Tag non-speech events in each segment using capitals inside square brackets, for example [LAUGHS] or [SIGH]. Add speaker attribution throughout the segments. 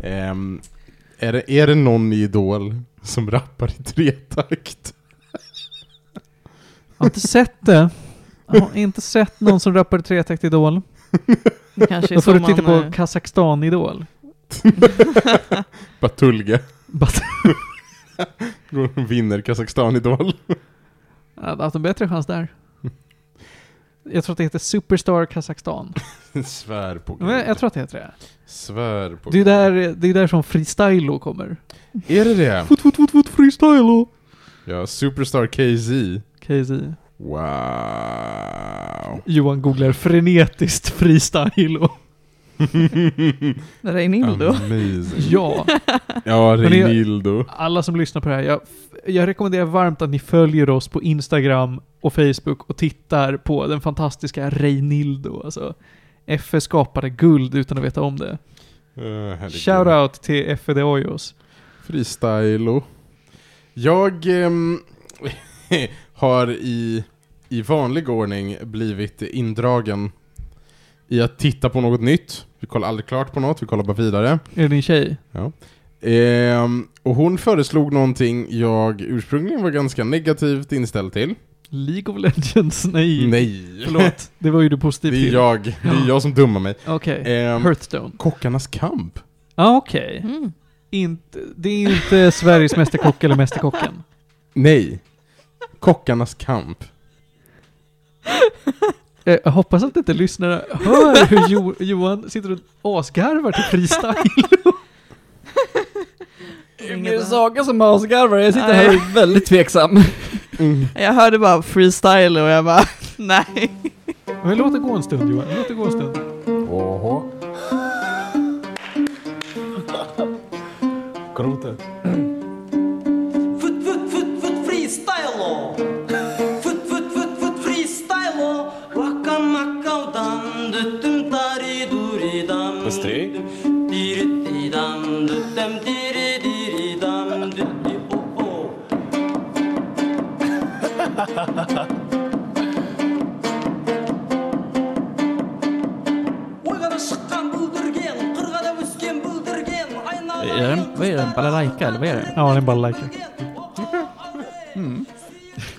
Speaker 1: Ehm, är, det, är det någon i Idol som rappar i tretakt?
Speaker 2: Jag har inte sett det. Jag har inte sett någon som rappar i tretakt Idol.
Speaker 3: Det kanske är
Speaker 2: Då
Speaker 3: så
Speaker 2: får du
Speaker 3: man...
Speaker 2: titta på
Speaker 3: eh,
Speaker 2: Kazakstan Idol.
Speaker 1: Batulga.
Speaker 2: Bat-
Speaker 1: Går och vinner Kazakstan Idol.
Speaker 2: Jag hade haft en bättre chans där. Jag tror att det heter Superstar Kazakstan.
Speaker 1: Svär på
Speaker 2: Men
Speaker 1: Gud.
Speaker 2: jag, jag tror att det heter det.
Speaker 1: Svär på
Speaker 2: Det är
Speaker 1: Gud.
Speaker 2: där, det är där som freestylo kommer.
Speaker 1: Är det det?
Speaker 2: Fot, fot, fot, fot, freestylo!
Speaker 1: Ja, Superstar KZ.
Speaker 2: KZ.
Speaker 1: Wow.
Speaker 2: Johan googlar frenetiskt freestylo. [LAUGHS]
Speaker 3: Reinildo.
Speaker 1: Amazing.
Speaker 2: Ja,
Speaker 1: Ja,
Speaker 2: Men det-
Speaker 1: Renildo.
Speaker 2: alla som lyssnar på det här, jag, jag rekommenderar varmt att ni följer oss på Instagram och Facebook och tittar på den fantastiska Reinildo. Alltså, Effe skapade guld utan att veta om det.
Speaker 1: Uh,
Speaker 2: Shoutout till Effe de Hoyos.
Speaker 1: Freestylo. Jag ehm, [LAUGHS] har i, i vanlig ordning blivit indragen i att titta på något nytt. Vi kollar aldrig klart på något, vi kollar bara vidare.
Speaker 2: Är det din tjej?
Speaker 1: Ehm, och hon föreslog någonting jag ursprungligen var ganska negativt inställd till.
Speaker 2: League of Legends? [LAUGHS] Nej.
Speaker 1: Nej, [LAUGHS]
Speaker 2: Förlåt, det var ju du
Speaker 1: det
Speaker 2: positiv
Speaker 1: är
Speaker 2: till.
Speaker 1: jag. Det är jag som dummar mig.
Speaker 2: Okej.
Speaker 1: Ehm,
Speaker 2: Hearthstone.
Speaker 1: Kockarnas kamp.
Speaker 2: Ja, ah, okej.
Speaker 3: Mm.
Speaker 2: Inte, det är ju inte Sveriges Mästerkock eller Mästerkocken.
Speaker 1: Nej. Kockarnas kamp.
Speaker 2: Eh, Jag jag hoppas att inte lyssnare hör hur jo, Johan sitter och asgarvar till freestyle.
Speaker 3: Inget där.
Speaker 4: Saga som asgarvar, jag
Speaker 3: sitter här och
Speaker 4: är väldigt tveksam.
Speaker 3: Jag hörde bara freestyle och jag bara, [LAUGHS] nej.
Speaker 2: Men låt det gå en stund Johan, låt det gå en stund.
Speaker 4: Круто.
Speaker 5: Фут, фут, фут, фут, фристайло. Фут, фут, фут, фут, фристайло. Вакан макаудан, дүттім тари дуридан.
Speaker 4: Быстрей.
Speaker 5: Тири-тиридам, дүттім тири-тиридам, дүтти о-о. [LAUGHS] ойғана шыққан бүлдірген қырғада өскен бүлдірген айналайын
Speaker 4: Vad är det? En balalaika eller vad är det?
Speaker 2: Ja, den bara likar.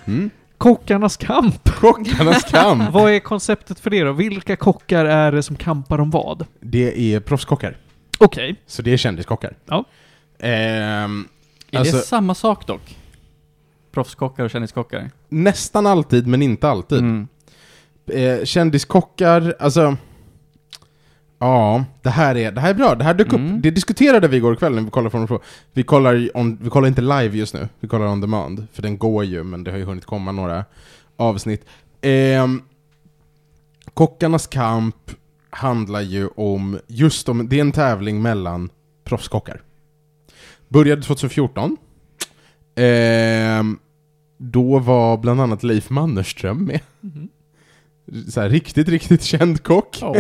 Speaker 5: Mm.
Speaker 2: Kockarnas kamp.
Speaker 1: Kockarnas
Speaker 2: [LAUGHS]
Speaker 1: kamp.
Speaker 2: Vad är konceptet för det då? Vilka kockar är det som kampar om vad? Mm.
Speaker 1: Det är proffskockar.
Speaker 2: Okej.
Speaker 1: Så det är kändiskockar.
Speaker 2: Ja.
Speaker 1: Ehm,
Speaker 4: Är
Speaker 1: alltså,
Speaker 4: det samma sak dock? Proffskockar och kändiskockar?
Speaker 1: nästan alltid, men inte alltid.
Speaker 4: Mm.
Speaker 1: Eh, kändiskockar, alltså... Ja, det här är, det här är bra. Det här dök
Speaker 4: Mm.
Speaker 1: upp. Det diskuterade vi igår kväll när vi kollade från på. Vi kollar, ju on, vi kollar inte live just nu. Vi kollar on demand. För den går ju, men det har ju hunnit komma några avsnitt. Ehm, kockarnas kamp handlar ju om, just om, det är en tävling mellan proffskockar. Började 2014. Ehm, då var bland annat Leif Mannerström med
Speaker 2: Mhm.
Speaker 1: så här, riktigt, riktigt känd kock.
Speaker 2: Ja.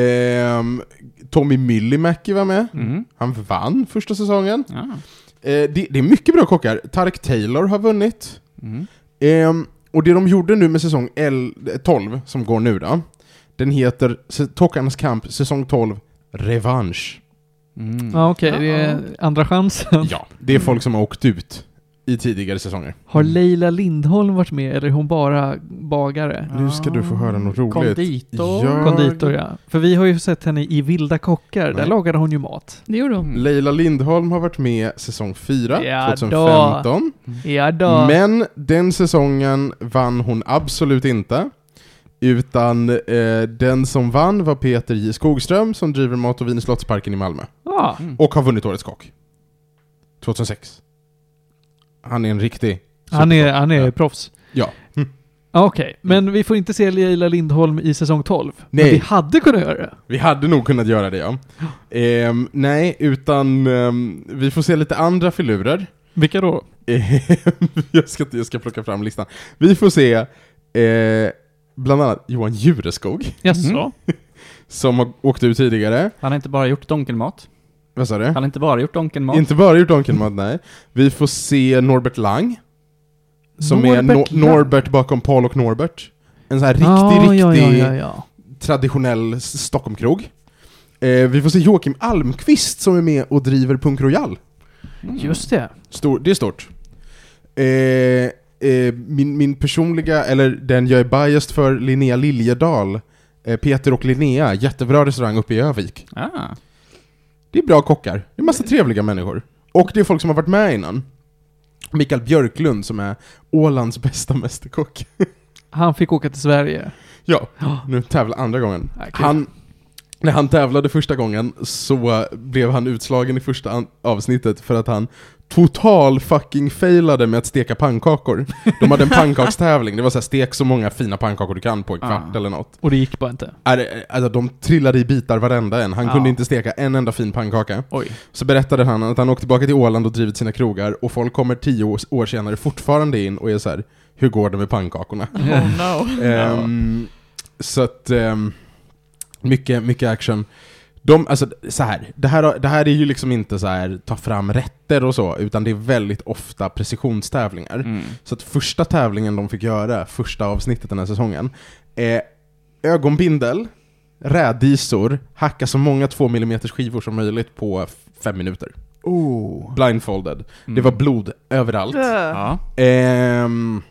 Speaker 1: Ehm, Tommy Myllymäki var med.
Speaker 4: Mm.
Speaker 1: Han vann första säsongen.
Speaker 4: Ja.
Speaker 1: Eh, det, det är mycket bra kockar. Tarek Taylor har vunnit.
Speaker 4: Mm.
Speaker 1: Ehm, och det de gjorde nu med säsong L, 12, som går nu då, den heter S- Tockarnas kamp säsong 12, Revansch.
Speaker 4: Mm.
Speaker 2: Ja, okej. Det är andra chansen.
Speaker 1: Ja, det är folk som har åkt ut i tidigare säsonger.
Speaker 2: Har Leila Lindholm varit med eller är hon bara bagare?
Speaker 1: Nu ska du få höra något roligt.
Speaker 4: Konditor.
Speaker 1: Ja.
Speaker 2: Konditor ja. För vi har ju sett henne i Vilda kockar, där
Speaker 1: Nej.
Speaker 2: lagade hon ju mat.
Speaker 3: Det gjorde hon.
Speaker 4: Mm.
Speaker 1: Leila Lindholm har varit med säsong 4,
Speaker 2: Ja, då.
Speaker 1: 2015.
Speaker 2: Ja
Speaker 1: Men den säsongen vann hon absolut inte. Utan eh, den som vann var Peter J Skogström som driver Mat och vin i Slottsparken i Malmö.
Speaker 2: Ja.
Speaker 4: Mm.
Speaker 1: Och har vunnit Årets Kock. 2006. Han är en riktig...
Speaker 2: Han är, han är
Speaker 1: Ja.
Speaker 2: proffs.
Speaker 1: Ja. Mm.
Speaker 2: Ja, Okej, men vi får inte se Leila Lindholm i säsong 12. Men
Speaker 1: Nej.
Speaker 2: vi hade kunnat göra det.
Speaker 1: Vi hade nog kunnat göra det ja. Ehm, nej, utan ehm, vi får se lite andra filurer.
Speaker 2: Vilka då?
Speaker 1: Ehm, [LAUGHS] jag, ska, jag ska plocka fram listan. Vi får se eh, bland annat Johan Jureskog
Speaker 2: Jaså?
Speaker 4: Mm.
Speaker 1: som har åkt ut tidigare.
Speaker 4: Han har inte bara gjort donkenmat.
Speaker 1: Vad sa du?
Speaker 4: Han har inte bara gjort donkenmat.
Speaker 1: Inte bara gjort Donkenmad, nej. Vi får se Norbert Lang. Som är
Speaker 2: Norbert
Speaker 1: no
Speaker 2: Lang.
Speaker 1: Norbert bakom Paul och Norbert. En sån här riktig,
Speaker 2: Ah,
Speaker 1: riktig
Speaker 2: Ja, ja, ja, ja.
Speaker 1: traditionell s- Stockholmkrog. Eh, vi får se Joakim Almqvist som är med och driver Punk Royal. Mm.
Speaker 2: Just det.
Speaker 1: Stor, det är stort. Eh, eh, min, min personliga, eller den jag är biased för, Linnea Liljedahl. Eh, Peter och Linnea, jättebra restaurang uppe i Övik.
Speaker 4: Ah.
Speaker 1: Det är bra kockar, det är massa trevliga människor. Och det är folk som har varit med innan. Mikael Björklund som är Ålands bästa mästerkock.
Speaker 2: Han fick åka till Sverige.
Speaker 1: [GASPS] Ja,
Speaker 2: Ja.
Speaker 1: nu tävlar andra gången.
Speaker 2: Ja, kul.
Speaker 1: Han, när han tävlade första gången så blev han utslagen i första an- avsnittet för att han total fucking failade med att steka pannkakor. De
Speaker 4: [LAUGHS]
Speaker 1: hade en pannkakstävling, det var så här, stek så många fina pannkakor du kan på en kvart
Speaker 4: Ah.
Speaker 1: eller något.
Speaker 2: Och det gick bara inte.
Speaker 1: Är det- Alltså, de trillade i bitar varenda en, han
Speaker 4: Ah.
Speaker 1: kunde inte steka en enda fin pannkaka.
Speaker 4: Oj.
Speaker 1: Så berättade han att han åkte tillbaka till Åland och drivit sina krogar och folk kommer tio år, år senare fortfarande in och är så här: hur går det med pannkakorna?
Speaker 3: Oh no.
Speaker 1: Ehm, så att, ehm, mycket, mycket action. De, alltså så här, det här, har- det här är ju liksom inte så här ta fram rätter och så, utan det är väldigt ofta precisionstävlingar.
Speaker 4: Mm.
Speaker 1: Så att första tävlingen de fick göra, första avsnittet den här säsongen, är ögonbindel, rädisor, hacka så många 2 mm skivor som möjligt på f- fem minuter.
Speaker 4: Oh.
Speaker 1: Blindfolded. Det var blod överallt.
Speaker 4: Mm. Ja.
Speaker 1: Ehm,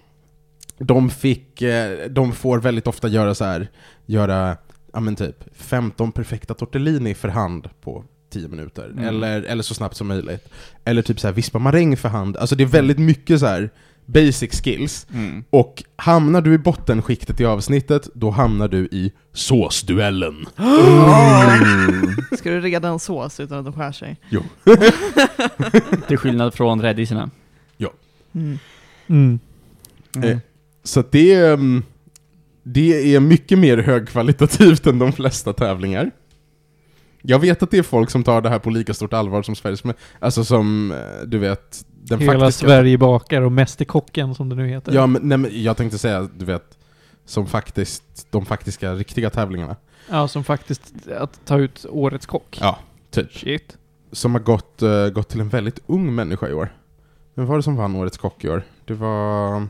Speaker 1: de fick, eh, de får väldigt ofta göra så här, göra, ja men typ 15 perfekta tortellini för hand på 10 minuter,
Speaker 4: Mm.
Speaker 1: eller, eller så snabbt som möjligt. Eller typ så här vispa maräng för hand, alltså det är väldigt mycket så här basic skills.
Speaker 4: Mm.
Speaker 1: Och hamnar du i bottenskiktet i avsnittet, då hamnar du i såsduellen. Ah.
Speaker 3: Ska du reda en sås utan att de skär sig?
Speaker 4: Till skillnad från rädisorna.
Speaker 3: Mm.
Speaker 2: [LAUGHS] Mm.
Speaker 1: Eh, Så att det, är, mm, det är mycket mer högkvalitativt än de flesta tävlingar. Jag vet att det är folk som tar det här på lika stort allvar som Sveriges, men- alltså som, eh, du vet, den
Speaker 2: Hela
Speaker 1: faktiska...
Speaker 2: Sverige bakar och Mästerkocken som det nu heter.
Speaker 1: Ja, men, nej, men jag tänkte säga, du vet, som faktiskt, de faktiska riktiga tävlingarna.
Speaker 2: Ja, som faktiskt att ta ut årets kock.
Speaker 1: Ja, typ.
Speaker 2: Shit.
Speaker 1: Som har gått, eh, gått till en väldigt ung människa i år. Vem var det som vann Årets Kock i år? Det var...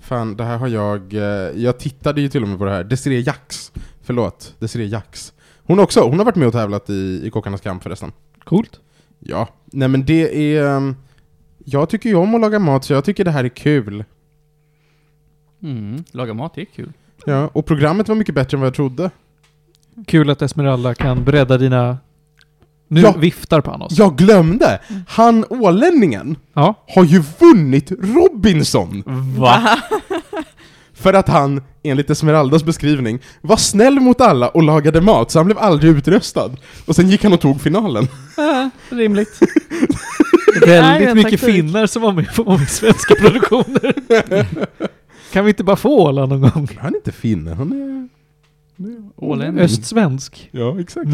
Speaker 1: Fan, det här har jag... eh, jag tittade ju till och med på det här. Desiree Jax. Förlåt, Desiree Jax. Hon också, hon har varit med och tävlat i, i Kockarnas Kamp förresten.
Speaker 2: Coolt.
Speaker 1: Ja, nej men det är... ehm, jag tycker ju om att laga mat så jag tycker det här är kul.
Speaker 4: Mm. Laga mat, det är kul.
Speaker 1: Ja, och programmet var mycket bättre än vad jag trodde.
Speaker 2: Kul att Esmeralda kan bredda dina... Nu
Speaker 1: Ja.
Speaker 2: viftar på oss.
Speaker 1: Jag glömde! Han ålänningen
Speaker 2: Ja.
Speaker 1: har ju vunnit Robinson!
Speaker 3: [LAUGHS]
Speaker 4: Va?
Speaker 1: För att han, enligt Esmeraldas beskrivning, var snäll mot alla och lagade mat, så han blev aldrig utröstad. Och sen gick han och tog finalen. [LAUGHS]
Speaker 2: Rimligt.
Speaker 3: är ju
Speaker 2: Väldigt
Speaker 3: en
Speaker 2: mycket
Speaker 3: taktik.
Speaker 2: finnar som var med på många
Speaker 1: [LAUGHS]
Speaker 2: svenska produktioner. kan vi inte bara få Åland någon gång?
Speaker 1: Han är inte finne, han är... han är
Speaker 2: Mm.
Speaker 4: Ålänning.
Speaker 2: Östsvensk.
Speaker 1: Ja, exakt.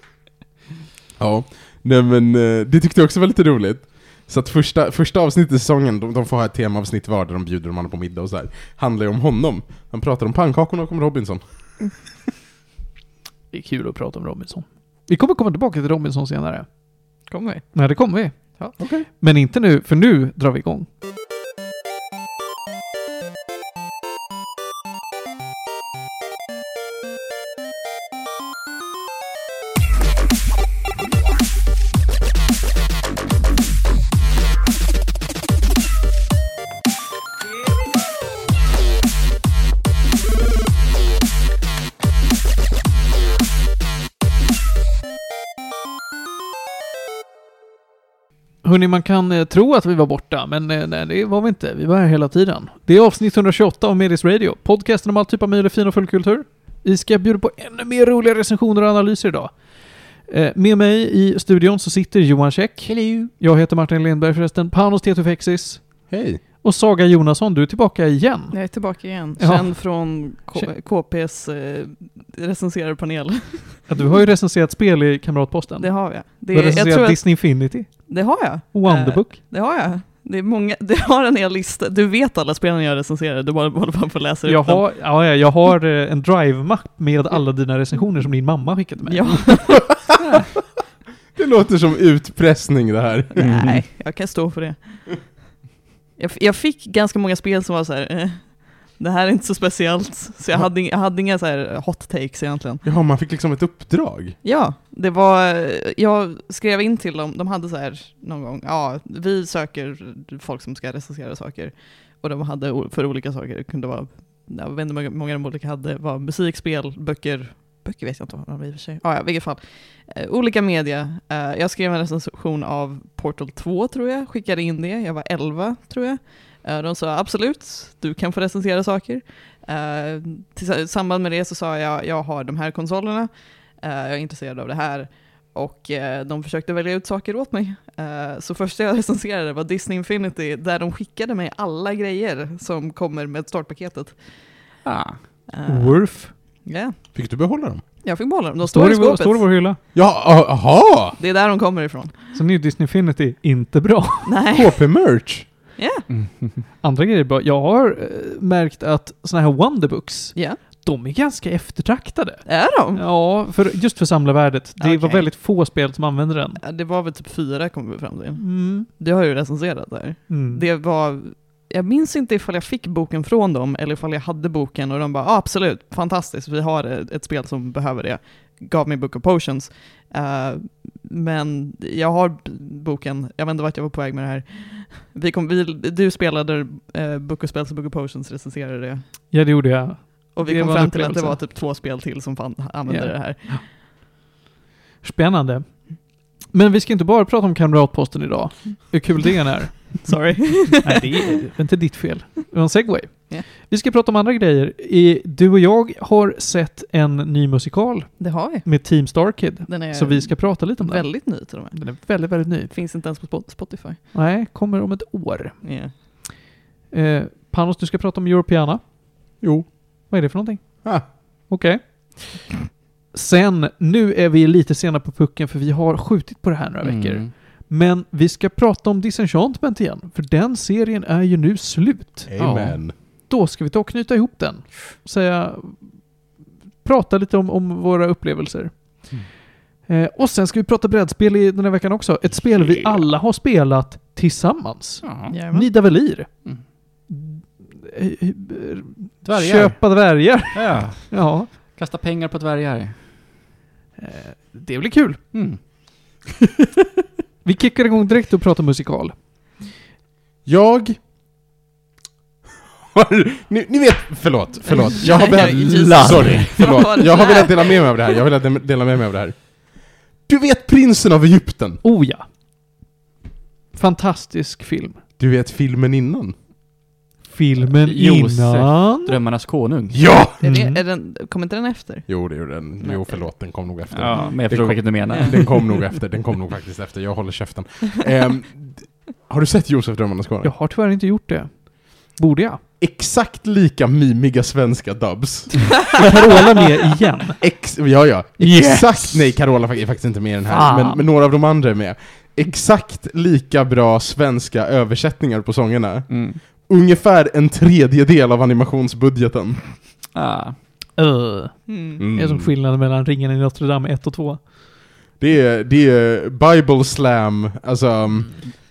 Speaker 1: [LAUGHS] ja, nej men eh, det tyckte jag också var lite roligt. Så att första, första avsnittet i säsongen, de, de får ha ett temaavsnitt var där de bjuder de andra på middag och så här. Handlar ju om honom. Han pratar om pannkakorna och om Robinson.
Speaker 2: Det är kul att prata om Robinson. Vi kommer komma tillbaka till Robinson senare.
Speaker 3: Kommer vi?
Speaker 2: Nej, det kommer vi.
Speaker 1: Okej.
Speaker 2: Men inte nu, för nu drar vi igång. Hörni, man kan eh, tro att vi var borta, men eh, nej, det var vi inte. Vi var här hela tiden. Det är avsnitt 128 av Medis Radio, podcasten om all typ av möjlig fin och fullkultur. Vi ska bjuda på ännu mer roliga recensioner och analyser idag. Eh, Med mig i studion så sitter Johan Käck. Hello. Jag heter Martin Lindberg förresten, Panos Tetufexis
Speaker 1: Hej.
Speaker 2: och Saga Jonasson, du är tillbaka igen.
Speaker 3: Jag är tillbaka igen.
Speaker 2: Ja.
Speaker 3: Känd från K-
Speaker 2: Kä-
Speaker 3: KPs eh, recenserarpanel.
Speaker 2: Ja, Du har ju recenserat spel i Kamratposten.
Speaker 3: [LAUGHS] Det har jag.
Speaker 2: du
Speaker 3: Det,
Speaker 2: har
Speaker 3: jag
Speaker 2: recenserat
Speaker 3: tror att,
Speaker 2: Disney Infinity,
Speaker 3: det har jag. Eh,
Speaker 2: Wonderbook.
Speaker 3: Det har jag. Det är många, [LAUGHS] det har en hel lista. Du vet alla spelen jag recenserar, du bara håller bara på att läsa
Speaker 2: Jag
Speaker 3: upp dem.
Speaker 2: har, ja, ja, jag har eh, en drive-mapp med alla dina recensioner som din mamma skickade till mig.
Speaker 3: [LAUGHS] Ja,
Speaker 1: Det låter som utpressning det här.
Speaker 3: nej, jag kan stå för det. Jag, f- jag fick ganska många spel som var så här. Eh, Det här är inte så speciellt, så jag hade, ing- jag hade inga så här hot takes egentligen.
Speaker 1: Jaha, man fick liksom ett uppdrag.
Speaker 3: Ja, det var, jag skrev in till dem, de hade så här någon gång, ja, vi söker folk som ska recensera saker. Och de hade o- för olika saker, det kunde vara, jag vet inte hur många de olika hade, var musik, spel, böcker, böcker vet jag inte om de i och för sig, ja, ja, i vilket fall. Eh, olika media, eh, jag skrev en recension av Portal 2 tror jag, skickade in det, jag var 11 tror jag. Eh, de sa absolut, du kan få recensera saker. Eh, tillsa- I samband med det så sa jag, jag har de här konsolerna, Eh, jag är intresserad av det här. Och eh, de försökte välja ut saker åt mig. Eh, så första jag [LAUGHS] recenserade var Disney Infinity, där de skickade mig alla grejer som kommer med startpaketet.
Speaker 4: Ah.
Speaker 3: Eh,
Speaker 2: Worth.
Speaker 3: ja,
Speaker 1: Fick du behålla dem?
Speaker 3: jag fick behålla dem, de
Speaker 2: Står
Speaker 3: står
Speaker 2: i
Speaker 3: i
Speaker 2: vår, står i
Speaker 3: skåpet.
Speaker 2: vår hylla.
Speaker 1: Ja, a- [LAUGHS] aha!
Speaker 3: Det är där de kommer ifrån.
Speaker 2: Så nu är Disney Infinity inte bra. [LAUGHS]
Speaker 3: Nej,
Speaker 1: KP-merch!
Speaker 4: Mm.
Speaker 2: Andra grejer är bra. Jag har eh, märkt att såna här Wonderbooks,
Speaker 3: ja,
Speaker 2: de är ganska eftertraktade.
Speaker 3: är de?
Speaker 2: Ja, för, just för samlarvärdet. Det var
Speaker 3: Okej.
Speaker 2: väldigt få spel som använde den.
Speaker 3: Ja, Det var väl typ fyra kom vi fram till.
Speaker 2: Mm.
Speaker 3: Det har jag ju recenserat där.
Speaker 2: Mm.
Speaker 3: Det var, jag minns inte ifall jag fick boken från dem eller ifall jag hade boken och de bara ah, absolut, fantastiskt, vi har ett ett spel som behöver det. Gav mig Book of Potions. Eh, men jag har b- boken, jag vet inte vart jag var på väg med det här. Vi kom, vi, du spelade uh, Book of Spells och Book of Potions, recenserade det.
Speaker 2: Ja, det gjorde jag.
Speaker 3: Och vi
Speaker 2: Det
Speaker 3: kom
Speaker 2: var en
Speaker 3: fram till att det
Speaker 2: upplevelse.
Speaker 3: var typ två spel till som fan använde
Speaker 2: Ja.
Speaker 3: det här.
Speaker 2: Spännande. Men vi ska inte bara prata om Kamratposten idag. Hur kul det än är.
Speaker 3: Sorry.
Speaker 2: [LAUGHS] Nej, det är inte ditt fel. Det var en segway.
Speaker 3: Ja.
Speaker 2: Vi ska prata om andra grejer. I- Du och jag har sett en ny musikal
Speaker 3: det har vi.
Speaker 2: med Team Starkid.
Speaker 3: Den är
Speaker 2: Så vi ska prata lite om den.
Speaker 3: väldigt ny till och med.
Speaker 2: Den är väldigt, väldigt ny.
Speaker 3: Finns inte ens på Spot- Spotify.
Speaker 2: Nej, kommer om ett år.
Speaker 3: Ja.
Speaker 2: Eh, Panos, du ska prata om Europeana.
Speaker 1: Jo.
Speaker 2: Vad är det för någonting?
Speaker 1: Ah,
Speaker 2: Okej. Sen, nu är vi lite sena på pucken för vi har skjutit på det här några veckor.
Speaker 4: Mm.
Speaker 2: Men vi ska prata om Disenchantment igen, för den serien är ju nu slut.
Speaker 1: amen.
Speaker 2: Då ska vi ta och knyta ihop den. Och säga, prata lite om, om våra upplevelser. Eh, och sen ska vi prata brädspel i den här veckan också. Ett spel vi
Speaker 4: Yeah.
Speaker 2: alla har spelat tillsammans.
Speaker 4: Ja.
Speaker 3: Jajamän.
Speaker 2: Nida Velir.
Speaker 4: Mm.
Speaker 2: Eh,
Speaker 4: Dvärgar.
Speaker 2: Köpa dvärgar.
Speaker 4: Ja.
Speaker 2: [LAUGHS] ja,
Speaker 4: Kasta pengar på dvärgar.
Speaker 2: det blir kul.
Speaker 4: Mm.
Speaker 2: Vi kickar igång direkt och pratar musikal.
Speaker 1: Jag... [LAUGHS] ni, ni vet, förlåt, förlåt. Jag har velat...
Speaker 3: Jesus.
Speaker 1: la- Sorry,
Speaker 3: var
Speaker 1: förlåt.
Speaker 3: det
Speaker 1: Jag har
Speaker 3: där?
Speaker 1: velat dela med mig av det här. Jag har velat dela med mig av det här. Du vet Prinsen av Egypten?
Speaker 2: Oh ja. Fantastisk film.
Speaker 1: Du vet filmen innan?
Speaker 2: Filmen
Speaker 4: Josef.
Speaker 2: innan...
Speaker 4: Drömmarnas konung.
Speaker 1: Ja!
Speaker 3: Är
Speaker 2: Mm.
Speaker 3: det, är den, kommer inte den efter?
Speaker 1: Jo, det gjorde den. Jo, förlåt, den kom nog efter.
Speaker 4: Ja, men jag
Speaker 1: Mm. Det
Speaker 4: förstår
Speaker 1: kom-
Speaker 4: vilket du menar.
Speaker 3: Ja.
Speaker 1: Den kom nog efter, den kom nog faktiskt efter. Jag håller käften. Ehm, d- har du sett Josef Drömmarnas konung?
Speaker 2: Jag har tyvärr inte gjort det. Borde jag?
Speaker 1: Exakt lika mimiga svenska
Speaker 3: [LAUGHS]
Speaker 1: dubs.
Speaker 2: Carola med igen.
Speaker 1: Ex ja, ja.
Speaker 2: Yes!
Speaker 1: Exakt, nej Carola är faktiskt inte med i den här,
Speaker 2: Fan.
Speaker 1: men, men några av de andra är med. Exakt lika bra svenska översättningar på sångerna.
Speaker 4: Mm.
Speaker 1: Ungefär en tredjedel av animationsbudgeten.
Speaker 4: Ah.
Speaker 2: Uh,
Speaker 3: Mm.
Speaker 1: Mm.
Speaker 2: Det är som skillnaden mellan Ringen i Notre Dame 1 och 2.
Speaker 1: Det är, det är Bible slam, alltså,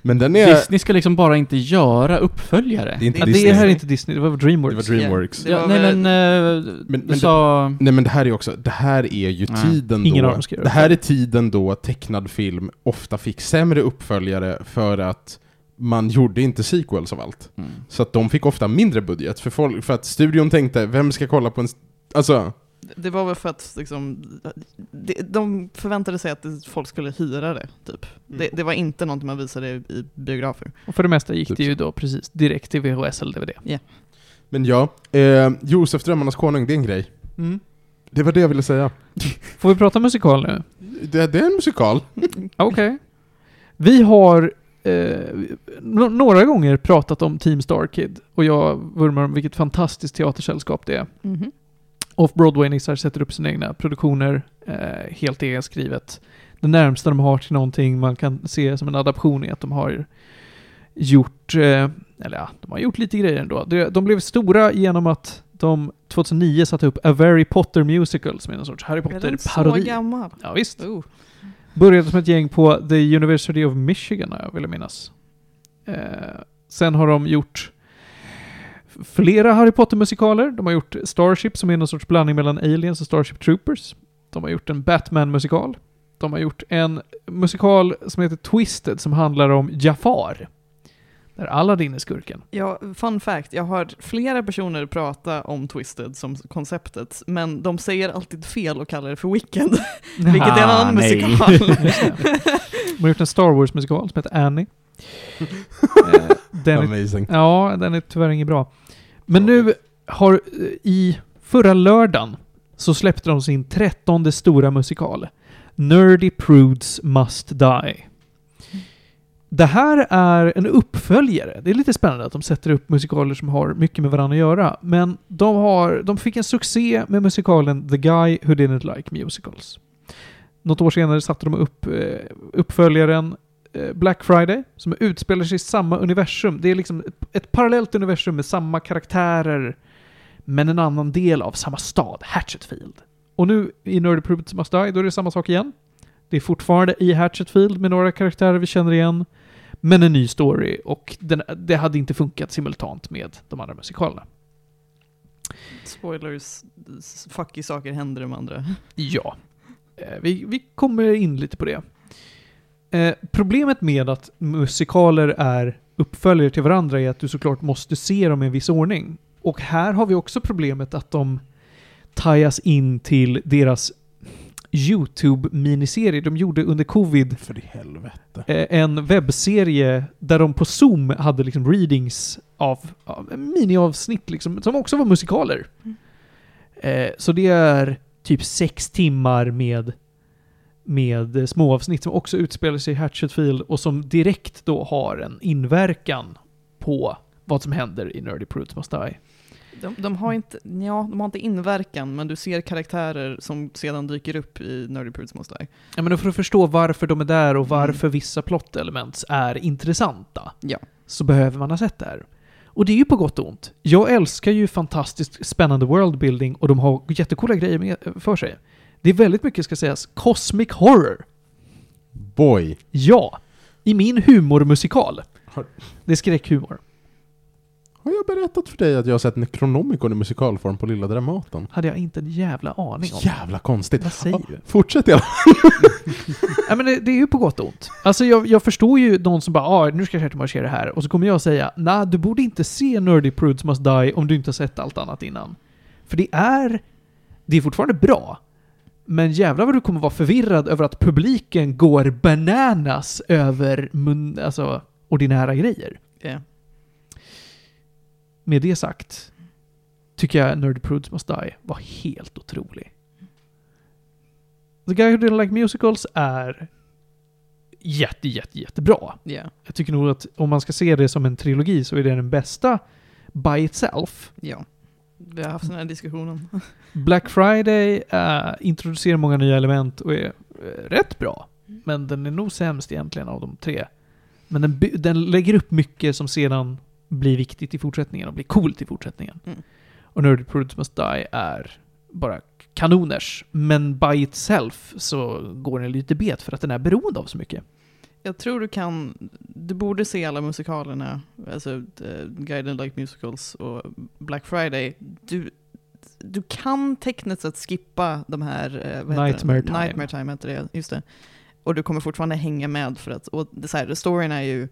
Speaker 1: men den är...
Speaker 4: Disney ska liksom bara inte göra uppföljare.
Speaker 1: Det är inte
Speaker 2: Ja,
Speaker 1: Disney.
Speaker 2: det här är inte Disney, det var
Speaker 1: Det var
Speaker 2: Dreamworks.
Speaker 1: Dreamworks.
Speaker 3: Det var
Speaker 4: Ja, nej
Speaker 3: väl-
Speaker 4: men, eh,
Speaker 1: men
Speaker 4: du
Speaker 1: det-
Speaker 4: sa...
Speaker 1: Nej men det här är också, det här är ju
Speaker 4: Nej.
Speaker 1: tiden
Speaker 2: Ingen av
Speaker 1: då,
Speaker 2: dem ska göra
Speaker 1: det här är tiden då tecknad film ofta fick sämre uppföljare för att man gjorde inte sequels av allt.
Speaker 4: Mm.
Speaker 1: Så att de fick ofta mindre budget, för, folk, för att studion tänkte, vem ska kolla på en... st- Alltså,
Speaker 3: Det var väl för att liksom, de, de förväntade sig att det- folk skulle hyra det, typ. Det, det var inte någonting man visade i, i biografer.
Speaker 2: Och för det mesta gick
Speaker 1: Typ
Speaker 2: det ju då precis direkt till VHS eller DVD.
Speaker 1: men ja, eh, Josef Drömmarnas Konung, det är en grej. Det var det jag ville säga.
Speaker 2: Får vi prata musikal nu?
Speaker 1: Det, det är en musikal.
Speaker 2: Okej. Vi har eh, no- några gånger pratat om Team Starkid och jag vurmar om vilket fantastiskt teatersällskap det är.
Speaker 3: Mhm.
Speaker 2: Off-Broadway-nissar sätter upp sina egna produktioner, eh, helt egenskrivet. Det närmsta de har till någonting man kan se som en adaption är att de har gjort, eh, eller ja, de har gjort lite grejer ändå. De, de blev stora genom att de 2009 satte upp A Very Potter Musical som är en sorts Harry
Speaker 3: Är den så
Speaker 2: Potter-parodi.
Speaker 3: gammal?
Speaker 2: Ja, visst.
Speaker 3: Oh.
Speaker 2: Började som ett gäng på The University of Michigan, har jag vill minnas. Eh, sen har de gjort flera Harry Potter-musikaler. De har gjort Starship som är någon sorts blandning mellan Aliens och Starship Troopers. De har gjort en Batman-musikal. De har gjort en musikal som heter Twisted som handlar om Jafar. Där Aladdin är skurken.
Speaker 3: Ja, fun fact, jag har hört flera personer prata om Twisted som konceptet, men de säger alltid fel och kallar det för Wicked, vilket är en
Speaker 4: Ah,
Speaker 3: annan
Speaker 4: nej.
Speaker 3: musikal.
Speaker 2: [LAUGHS]
Speaker 4: [LAUGHS]
Speaker 2: De har gjort en Star Wars-musikal som heter Annie. Eh, den är
Speaker 1: Amazing.
Speaker 2: Ja, den är tyvärr inget bra. Men nu har, i förra lördagen, så släppte de sin trettonde stora musikal. Nerdy Prudes Must Die. Det här är en uppföljare. Det är lite spännande att de sätter upp musikaler som har mycket med varandra att göra. Men de, har, de fick en succé med musikalen The Guy Who Didn't Like Musicals. Något år senare satte de upp eh, uppföljaren eh, Black Friday, som utspelar sig i samma universum. Det är liksom ett, ett parallellt universum med samma karaktärer, men en annan del av samma stad, Hatchetfield. Och nu i Nerdy Proof Must Die, då är det samma sak igen. Det är fortfarande i Hatchetfield med några karaktärer vi känner igen, men en ny story och den, det hade inte funkat simultant med de andra musikalerna.
Speaker 3: Spoilers, s- fucky saker händer de andra.
Speaker 2: Ja. Eh, Vi, vi kommer in lite på det. Eh, problemet med att musikaler är uppföljare till varandra är att du såklart måste se dem i en viss ordning. Och här har vi också problemet att de tajas in till deras YouTube-miniserie de gjorde under covid.
Speaker 1: För i helvete.
Speaker 2: eh, En webbserie där de på Zoom hade liksom readings av, av miniavsnitt liksom, som också var musikaler.
Speaker 3: Mm.
Speaker 2: Eh, så det är typ sex timmar med, med eh, småavsnitt som också utspelar sig i Hatchetfield och som direkt då har en inverkan på vad som händer i Nerdy Prudes Must Die.
Speaker 3: De, de, har inte, ja, de har inte inverkan, men du ser karaktärer som sedan dyker upp i Nerdy Prudes Must Die.
Speaker 2: Ja, men för att förstå varför de är där och varför vissa plottelement är intressanta
Speaker 3: Ja.
Speaker 2: så behöver man ha sett det här. Och det är ju på gott och ont. Jag älskar ju fantastiskt spännande worldbuilding och de har jättekola grejer med, för sig. Det är väldigt mycket, ska sägas, cosmic horror.
Speaker 1: Boy.
Speaker 2: Ja, i min humormusikal.
Speaker 1: Har-
Speaker 2: Det är skräckhumor.
Speaker 1: Har jag berättat för dig att jag har sett Necronomicon i musikalform på Lilla Dramaten?
Speaker 2: Hade jag inte en jävla aning om.
Speaker 1: Jävla konstigt.
Speaker 2: Vad säger du?
Speaker 1: Fortsätt i alla
Speaker 2: Ja, men det, det är ju på gott och ont. Alltså jag, jag förstår ju någon som bara ah, nu ska jag sätta det här och så kommer jag säga nej du borde inte se Nerdy Prudes Must Die om du inte har sett allt annat innan. För det är, det är fortfarande bra. Men jävlar vad du kommer vara förvirrad över att publiken går bananas över mun, alltså, ordinära grejer.
Speaker 3: Ja.
Speaker 2: Med det sagt tycker jag Nerdy Prudes Must Die var helt otrolig. The Guy Who Didn't Like Musicals är jätte, jätte, jättebra.
Speaker 3: ja
Speaker 2: Jag tycker nog att om man ska se det som en trilogi så är det den bästa by itself.
Speaker 3: ja. Vi har haft den här diskussionen.
Speaker 2: Black Friday eh, introducerar många nya element och är eh, rätt bra. Men den är nog sämst egentligen av de tre. Men den, by- den lägger upp mycket som sedan blir viktigt i fortsättningen och blir coolt i fortsättningen.
Speaker 3: Mm.
Speaker 2: Och Nerdy Prudes Must Die är bara kanoners. Men by itself så går den lite bet för att den är beroende av så mycket.
Speaker 3: Jag tror du kan, du borde se alla musikalerna, alltså eh, Guided Like Musicals och Black Friday. Du, du kan tekniskt sett skippa de här, eh, vad heter
Speaker 2: Nightmare
Speaker 3: det?
Speaker 2: Time.
Speaker 3: Nightmare Time heter det, just det. Och du kommer fortfarande hänga med för att, och det, är så här, storyn är ju,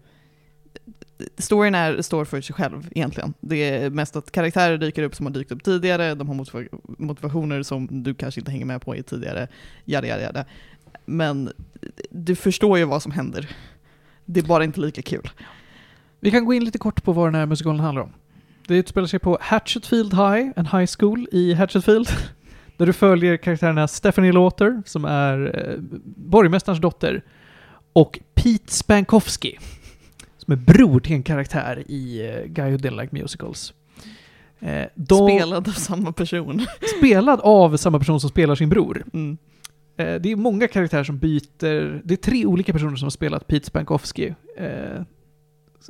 Speaker 3: storyn är, står för sig själv egentligen. Det är mest att karaktärer dyker upp som har dykt upp tidigare, de har motiva- motivationer som du kanske inte hänger med på i tidigare, jada jada jada. Men du förstår ju vad som händer. Det är bara inte lika kul.
Speaker 2: Vi kan gå in lite kort på vad den här musikalen handlar om. Det utspelar sig på Hatchetfield High, en high school i Hatchetfield. [LAUGHS] Där du följer karaktärerna Stephanie Laughter, som är eh, borgmästarens dotter, och Pete Spankowski, som är bror till en karaktär i eh, Guy Who Didn't Like Musicals. Eh, de,
Speaker 3: Spelad av samma person.
Speaker 2: Spelad av samma person som spelar sin bror.
Speaker 3: Mm.
Speaker 2: Eh, det är många karaktärer som byter. Det är tre olika personer som har spelat Pete Spankowski, eh,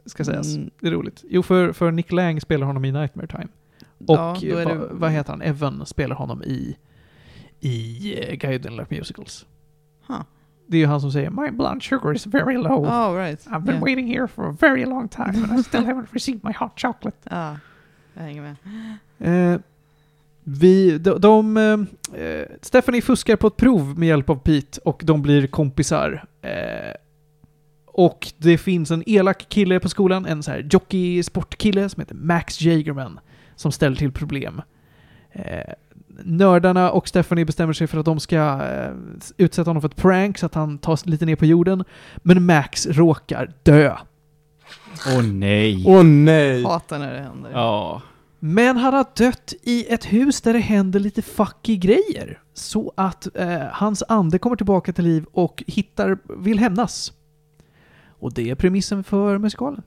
Speaker 2: ska sägas.
Speaker 3: Mm,
Speaker 2: Det är roligt. Jo, för, för Nick Lang spelar honom i Nightmare Time. Och
Speaker 3: ja, då är
Speaker 2: va,
Speaker 3: det- mm.
Speaker 2: vad heter han? Evan spelar honom i, i eh, Guy Who Didn't Like Musicals.
Speaker 3: Huh.
Speaker 2: Det är ju han som säger My blood sugar is very low.
Speaker 3: Oh, right.
Speaker 2: I've been
Speaker 3: Yeah.
Speaker 2: waiting here for a very long time and I still haven't received my hot chocolate.
Speaker 3: Ah. Jag hänger med.
Speaker 2: Eh, vi, de, de, eh, eh, Stephanie fuskar på ett prov med hjälp av Pete och de blir kompisar. Eh, och det finns en elak kille på skolan, en så här jockey-sportkille som heter Max Jagerman, som ställer till problem. Eh, nördarna och Stephanie bestämmer sig för att de ska eh, utsätta honom för ett prank så att han tas lite ner på jorden. Men Max råkar dö.
Speaker 4: Åh nej!
Speaker 1: Åh nej!
Speaker 3: Hatar när det händer.
Speaker 4: Ja.
Speaker 2: Men han har dött i ett hus där det händer lite fucky grejer. Så att eh, hans ande kommer tillbaka till liv och hittar, vill hämnas. Och det är premissen för musikalen.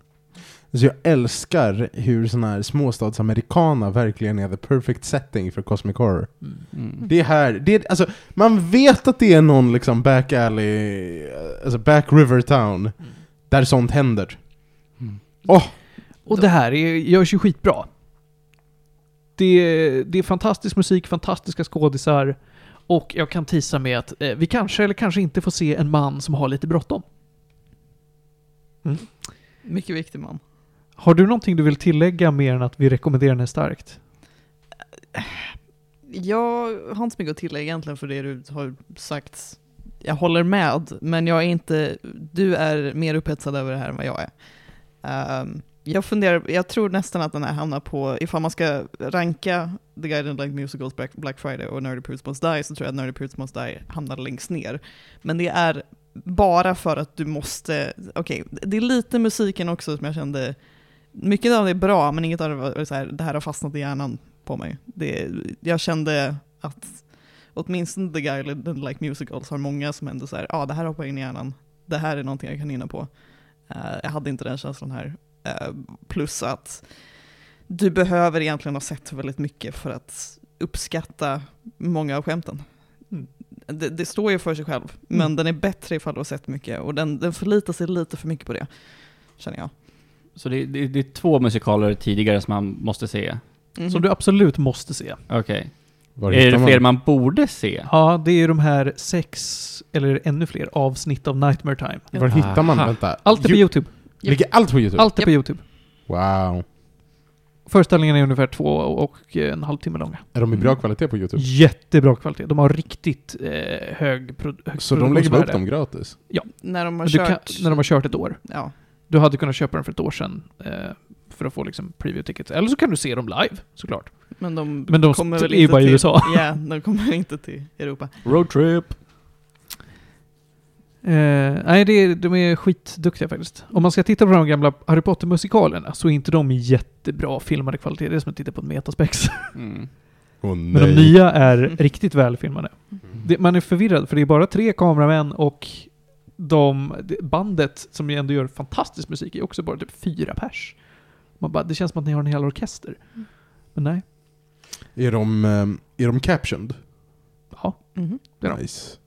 Speaker 1: Alltså jag älskar hur sån här småstadsamerikana verkligen är the perfect setting för Cosmic Horror.
Speaker 4: Mm.
Speaker 1: Det är här, det är, alltså, man vet att det är någon liksom back alley, alltså back river town, där sånt händer.
Speaker 4: Mm.
Speaker 2: Och det här är, görs ju skitbra. Det, det är fantastisk musik, fantastiska skådisar och jag kan tisa med att eh, vi kanske eller kanske inte får se en man som har lite bråttom.
Speaker 3: Mycket viktig man.
Speaker 2: Har du någonting du vill tillägga mer än att vi rekommenderar den här starkt?
Speaker 3: Jag har inte så mycket att tillägga egentligen för det du har sagt. Jag håller med, men jag är inte, du är mer upphetsad över det här än vad jag är. Ehm, jag funderar, jag tror nästan att den här hamnar på, ifall man ska ranka The Guide and Like Musicals, Black, Black Friday och Nerdy Prudes Must Die, så tror jag att Nerdy Prudes Must Die hamnar längst ner. Men det är bara för att du måste, okej, det är lite musiken också som jag kände, mycket av det är bra, men inget av det var så här, det här har fastnat i hjärnan på mig. Det, jag kände att åtminstone The Guy Didn't Like Musicals har många som ändå så här, ja ah, det här hoppar in i hjärnan, det här är någonting jag kan hinna på. Eh, jag hade inte den känslan här. Eh, plus att du behöver egentligen ha sett väldigt mycket för att uppskatta många av skämten.
Speaker 2: Mm.
Speaker 3: Det, det står ju för sig själv, men
Speaker 2: Mm.
Speaker 3: den är bättre ifall du har sett mycket och den, den förlitar sig lite för mycket på det, känner jag.
Speaker 4: Så det, det, det är två musikaler tidigare som man måste se.
Speaker 3: Mhm.
Speaker 2: Som du absolut måste se.
Speaker 4: Okej.
Speaker 1: Var
Speaker 4: Är
Speaker 1: hittar
Speaker 4: det fler man borde se?
Speaker 2: Ja, det är ju de här sex, eller ännu fler, avsnitt av Nightmare Time.
Speaker 1: Var hittar man?
Speaker 4: Aha.
Speaker 1: Vänta.
Speaker 2: Allt är på
Speaker 1: Ju-
Speaker 2: YouTube.
Speaker 1: Ligger allt på Youtube?
Speaker 2: Allt är på YouTube.
Speaker 1: Wow.
Speaker 2: Föreställningen är ungefär två och en halv timme långa.
Speaker 1: Är de i
Speaker 2: Mm.
Speaker 1: bra kvalitet på Youtube?
Speaker 2: Jättebra kvalitet. De har riktigt eh, hög, pro, högt
Speaker 1: Så de lägger bara upp
Speaker 2: produktionsvärde.
Speaker 1: dem gratis?
Speaker 3: när de har
Speaker 2: Men Du kan,
Speaker 3: kört...
Speaker 2: när de har kört ett år.
Speaker 3: ja.
Speaker 2: Du hade kunnat köpa den för ett år sedan eh, för att få liksom preview tickets. Eller så kan du se dem live, såklart.
Speaker 3: Men de,
Speaker 2: Men de
Speaker 3: kommer
Speaker 2: st-
Speaker 3: väl
Speaker 2: är ju
Speaker 3: inte
Speaker 2: bara i
Speaker 3: till,
Speaker 2: USA.
Speaker 3: Ja, de kommer inte till Europa.
Speaker 4: Roadtrip!
Speaker 2: Eh, nej, det, är- de är skitduktiga faktiskt. Om man ska titta på de gamla Harry Potter-musikalerna så är inte de i jättebra filmade kvalitet. Det är som att titta på ett metaspex.
Speaker 4: Mm.
Speaker 1: Åh nej.
Speaker 2: Men de nya är
Speaker 3: Mm.
Speaker 2: riktigt välfilmade. Det, man är förvirrad för det är bara tre kameramän och de, det- bandet som ju ändå gör fantastisk musik är också bara typ fyra pers. Man bara, det känns som att ni har en hel orkester. Men nej.
Speaker 1: Är de, ehm, är de captioned?
Speaker 2: Ja.
Speaker 3: Mhm.
Speaker 2: Det är de.
Speaker 1: Nice.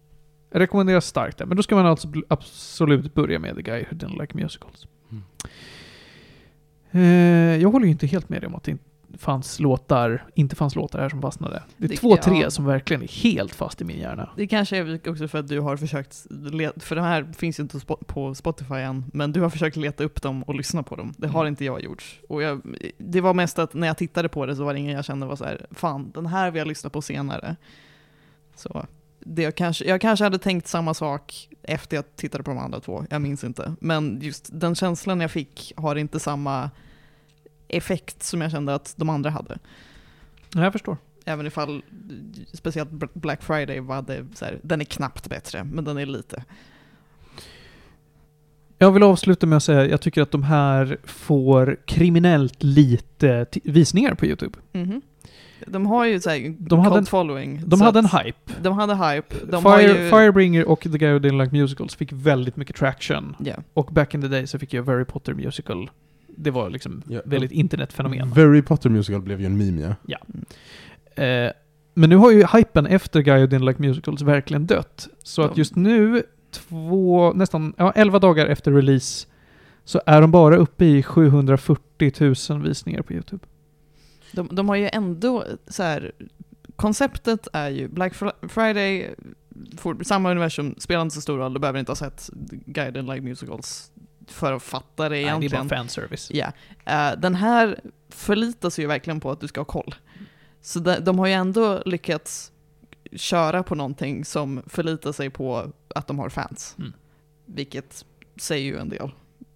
Speaker 2: Jag rekommenderar starkt det. Men då ska man alltså bl- absolut börja med The Guy Who Didn't Like Musicals.
Speaker 4: Mm.
Speaker 2: Eh, jag håller ju inte helt med dig om att det inte fanns låtar, inte fanns låtar här som fastnade. Det är
Speaker 3: Det-
Speaker 2: två, tre
Speaker 3: ja.
Speaker 2: som verkligen är helt fast i min hjärna.
Speaker 3: Det kanske är också för att du har försökt, le- för de här finns ju inte spo- på Spotify än, men du har försökt leta upp dem och lyssna på dem. Det har inte jag gjort. Och jag, det var mest att när jag tittade på det så var det ingen jag kände var så här, fan, den här vill jag lyssna på senare. Så det jag, kanske, jag kanske hade tänkt samma sak efter jag tittade på de andra två, jag minns inte. Men just den känslan jag fick har inte samma effekt som jag kände att de andra hade.
Speaker 2: Ja, jag förstår.
Speaker 3: Även ifall, speciellt Bl- Black Friday, var det så här, den är knappt bättre, men den är lite.
Speaker 2: Jag vill avsluta med att säga att jag tycker att de här får kriminellt lite t- visningar på YouTube.
Speaker 3: De har ju så här,
Speaker 2: Mhm. De hade
Speaker 3: cult
Speaker 2: en-
Speaker 3: following.
Speaker 2: De
Speaker 3: så
Speaker 2: hade en
Speaker 3: att-
Speaker 2: hype.
Speaker 3: De hade hype. De har
Speaker 2: Fire,
Speaker 3: ju,
Speaker 2: Firebringer och The Guy Who Didn't Like Musicals fick väldigt mycket traction.
Speaker 3: Ja.
Speaker 2: Och back in the day så fick jag Very Potter Musical. Det var liksom
Speaker 1: Ja.
Speaker 2: väldigt internetfenomen.
Speaker 1: Very Potter Musical blev ju en meme ja.
Speaker 2: Eh, men nu har ju hypen efter Guy Who Didn't Like Musicals verkligen dött. Så att
Speaker 3: De-
Speaker 2: just nu, två, nästan ja, 11 dagar efter release, så är de bara uppe i 740 000 visningar på YouTube.
Speaker 3: De, de har ju ändå så här, konceptet är ju Black Fri- Friday, for, samma universum, spelar inte så stor roll, du behöver inte ha sett Guide and Like Musicals. författare
Speaker 2: Nej, det är
Speaker 3: egentligen.
Speaker 2: bara fanservice.
Speaker 3: Ja. Eh, den här förlitar sig ju verkligen på att du ska ha koll. Så de, de har ju ändå lyckats köra på någonting som förlitar sig på att de har fans.
Speaker 2: Mm.
Speaker 3: Vilket säger ju en del.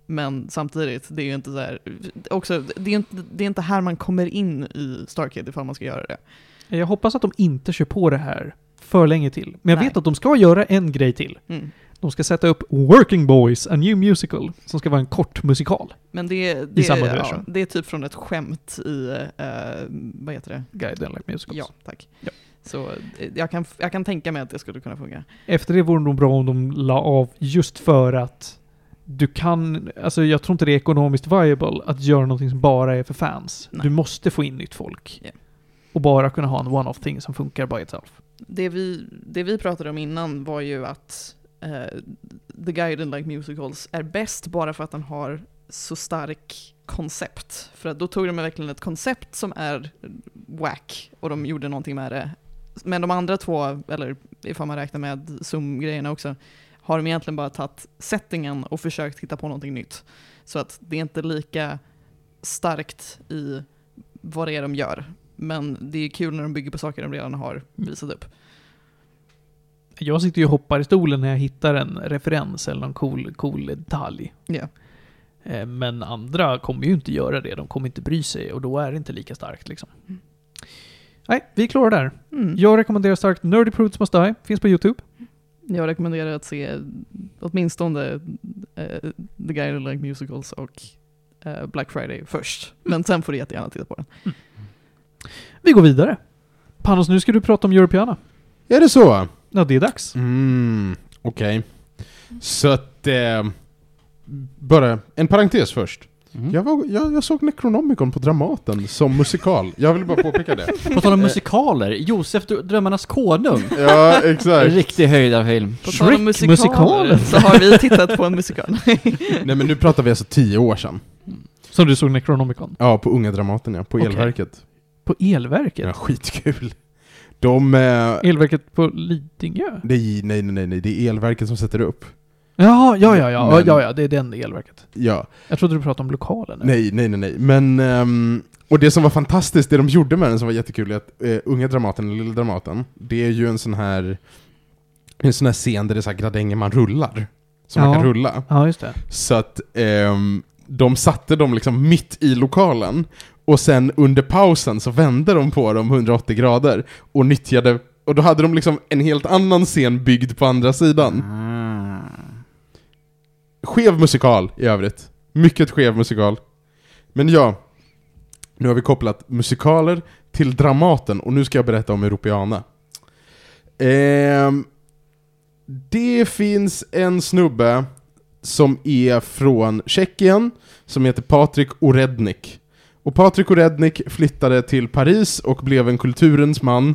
Speaker 3: Men samtidigt, det är ju inte så här, också, det är inte, det är inte här man kommer in i Starkid ifall man ska göra det.
Speaker 2: Jag hoppas att de inte kör på det här för länge till. Men jag
Speaker 3: Nej.
Speaker 2: vet att de ska göra en grej till.
Speaker 3: Mm.
Speaker 2: De ska sätta upp Working Boys, A New Musical, som ska vara en kort musikal.
Speaker 3: Men det, det,
Speaker 2: samma
Speaker 3: ja,
Speaker 2: universum.
Speaker 3: det är typ från ett skämt i, eh, vad heter det?
Speaker 2: Guide and like musicals.
Speaker 3: Ja, tack.
Speaker 2: Ja.
Speaker 3: Så eh, jag kan, jag kan tänka mig att det skulle kunna funka.
Speaker 2: Efter det vore det nog bra om de la av just för att du kan, alltså jag tror inte det är ekonomiskt viable att göra någonting som bara är för fans.
Speaker 3: Nej.
Speaker 2: Du måste få in nytt folk.
Speaker 3: Ja.
Speaker 2: Och bara kunna ha en one-off thing som funkar by itself.
Speaker 3: det vi, det vi pratade om innan var ju att eh, The Guide and Like Musicals är bäst bara för att den har så stark koncept. För att då tog de verkligen ett koncept som är wack och de gjorde någonting med det. Men de andra två, eller ifall man räknar med Zoom-grejerna också, har de egentligen bara tagit settingen och försökt hitta på någonting nytt. Så att det är inte lika starkt i vad det är de gör. Men det är kul när de bygger på saker de redan har visat upp.
Speaker 2: Jag sitter ju och hoppar i stolen när jag hittar en referens eller någon cool, cool detalj.
Speaker 3: Ja.
Speaker 2: Eh, Men andra kommer ju inte göra det, de kommer inte bry sig och då är det inte lika starkt liksom.
Speaker 3: Mm.
Speaker 2: Nej, vi är klara där.
Speaker 3: Mm.
Speaker 2: Jag rekommenderar starkt Nerdy Prudes Must Die, finns på YouTube.
Speaker 3: Jag rekommenderar att se åtminstone eh, The Guy Who Like Musicals och eh, Black Friday först. Men sen får du jättegärna titta på den.
Speaker 2: Vi går vidare. Panos, nu ska du prata om Europeana.
Speaker 1: Är det så?
Speaker 2: Ja, det är dags.
Speaker 1: Mm, okej. Så att... Eh, bara en parentes först.
Speaker 4: Mm.
Speaker 1: Jag, var, jag, jag såg Necronomicon på Dramaten som musikal. Jag vill bara påpeka det.
Speaker 4: På tal om musikaler, Josef Dr- Drömmarnas Konung.
Speaker 1: Ja, exakt.
Speaker 4: Riktig höjdarfilm.
Speaker 3: På tal om
Speaker 2: Shrek,
Speaker 3: musikaler
Speaker 2: musikalen.
Speaker 3: så har vi tittat på en [LAUGHS] musikal.
Speaker 1: Nej men nu pratar vi alltså tio år sedan.
Speaker 2: Som du såg Necronomicon.
Speaker 1: Ja, på Unga Dramaten ja. På
Speaker 2: Okej.
Speaker 1: Elverket.
Speaker 2: På Elverket.
Speaker 1: Ja, skitkul. De... Eh,
Speaker 2: Elverket på Lidingö?
Speaker 1: nej, nej, nej, nej, det är Elverket som sätter upp.
Speaker 2: Ja, ja, ja, ja,
Speaker 1: Men-
Speaker 2: ja, ja, det är den elverket.
Speaker 1: Ja.
Speaker 2: Jag trodde du pratade om lokalen. nu.
Speaker 1: Nej, nej, nej, nej. Men... ehm, och det som var fantastiskt, det de gjorde med den som var jättekul, är att eh, Unga Dramaten, eller Lilla Dramaten, det är ju en sån här... En sån här scen där det är så här gradänger man rullar. Som man
Speaker 2: Ja.
Speaker 1: kan rulla.
Speaker 2: Ja, just det.
Speaker 1: Så att ehm, de satte dem liksom mitt i lokalen och sen under pausen så vände de på dem 180 grader och nyttjade och då hade de liksom en helt annan scen byggd på andra sidan.
Speaker 4: Ah.
Speaker 1: Skev musikal i övrigt. Mycket skev musikal. Men ja, nu har vi kopplat musikaler till Dramaten och nu ska jag berätta om Europeana. Ehm, det finns en snubbe som är från Tjeckien, som heter Patrik Orednik. Och Patrik Orednik flyttade till Paris och blev en kulturens man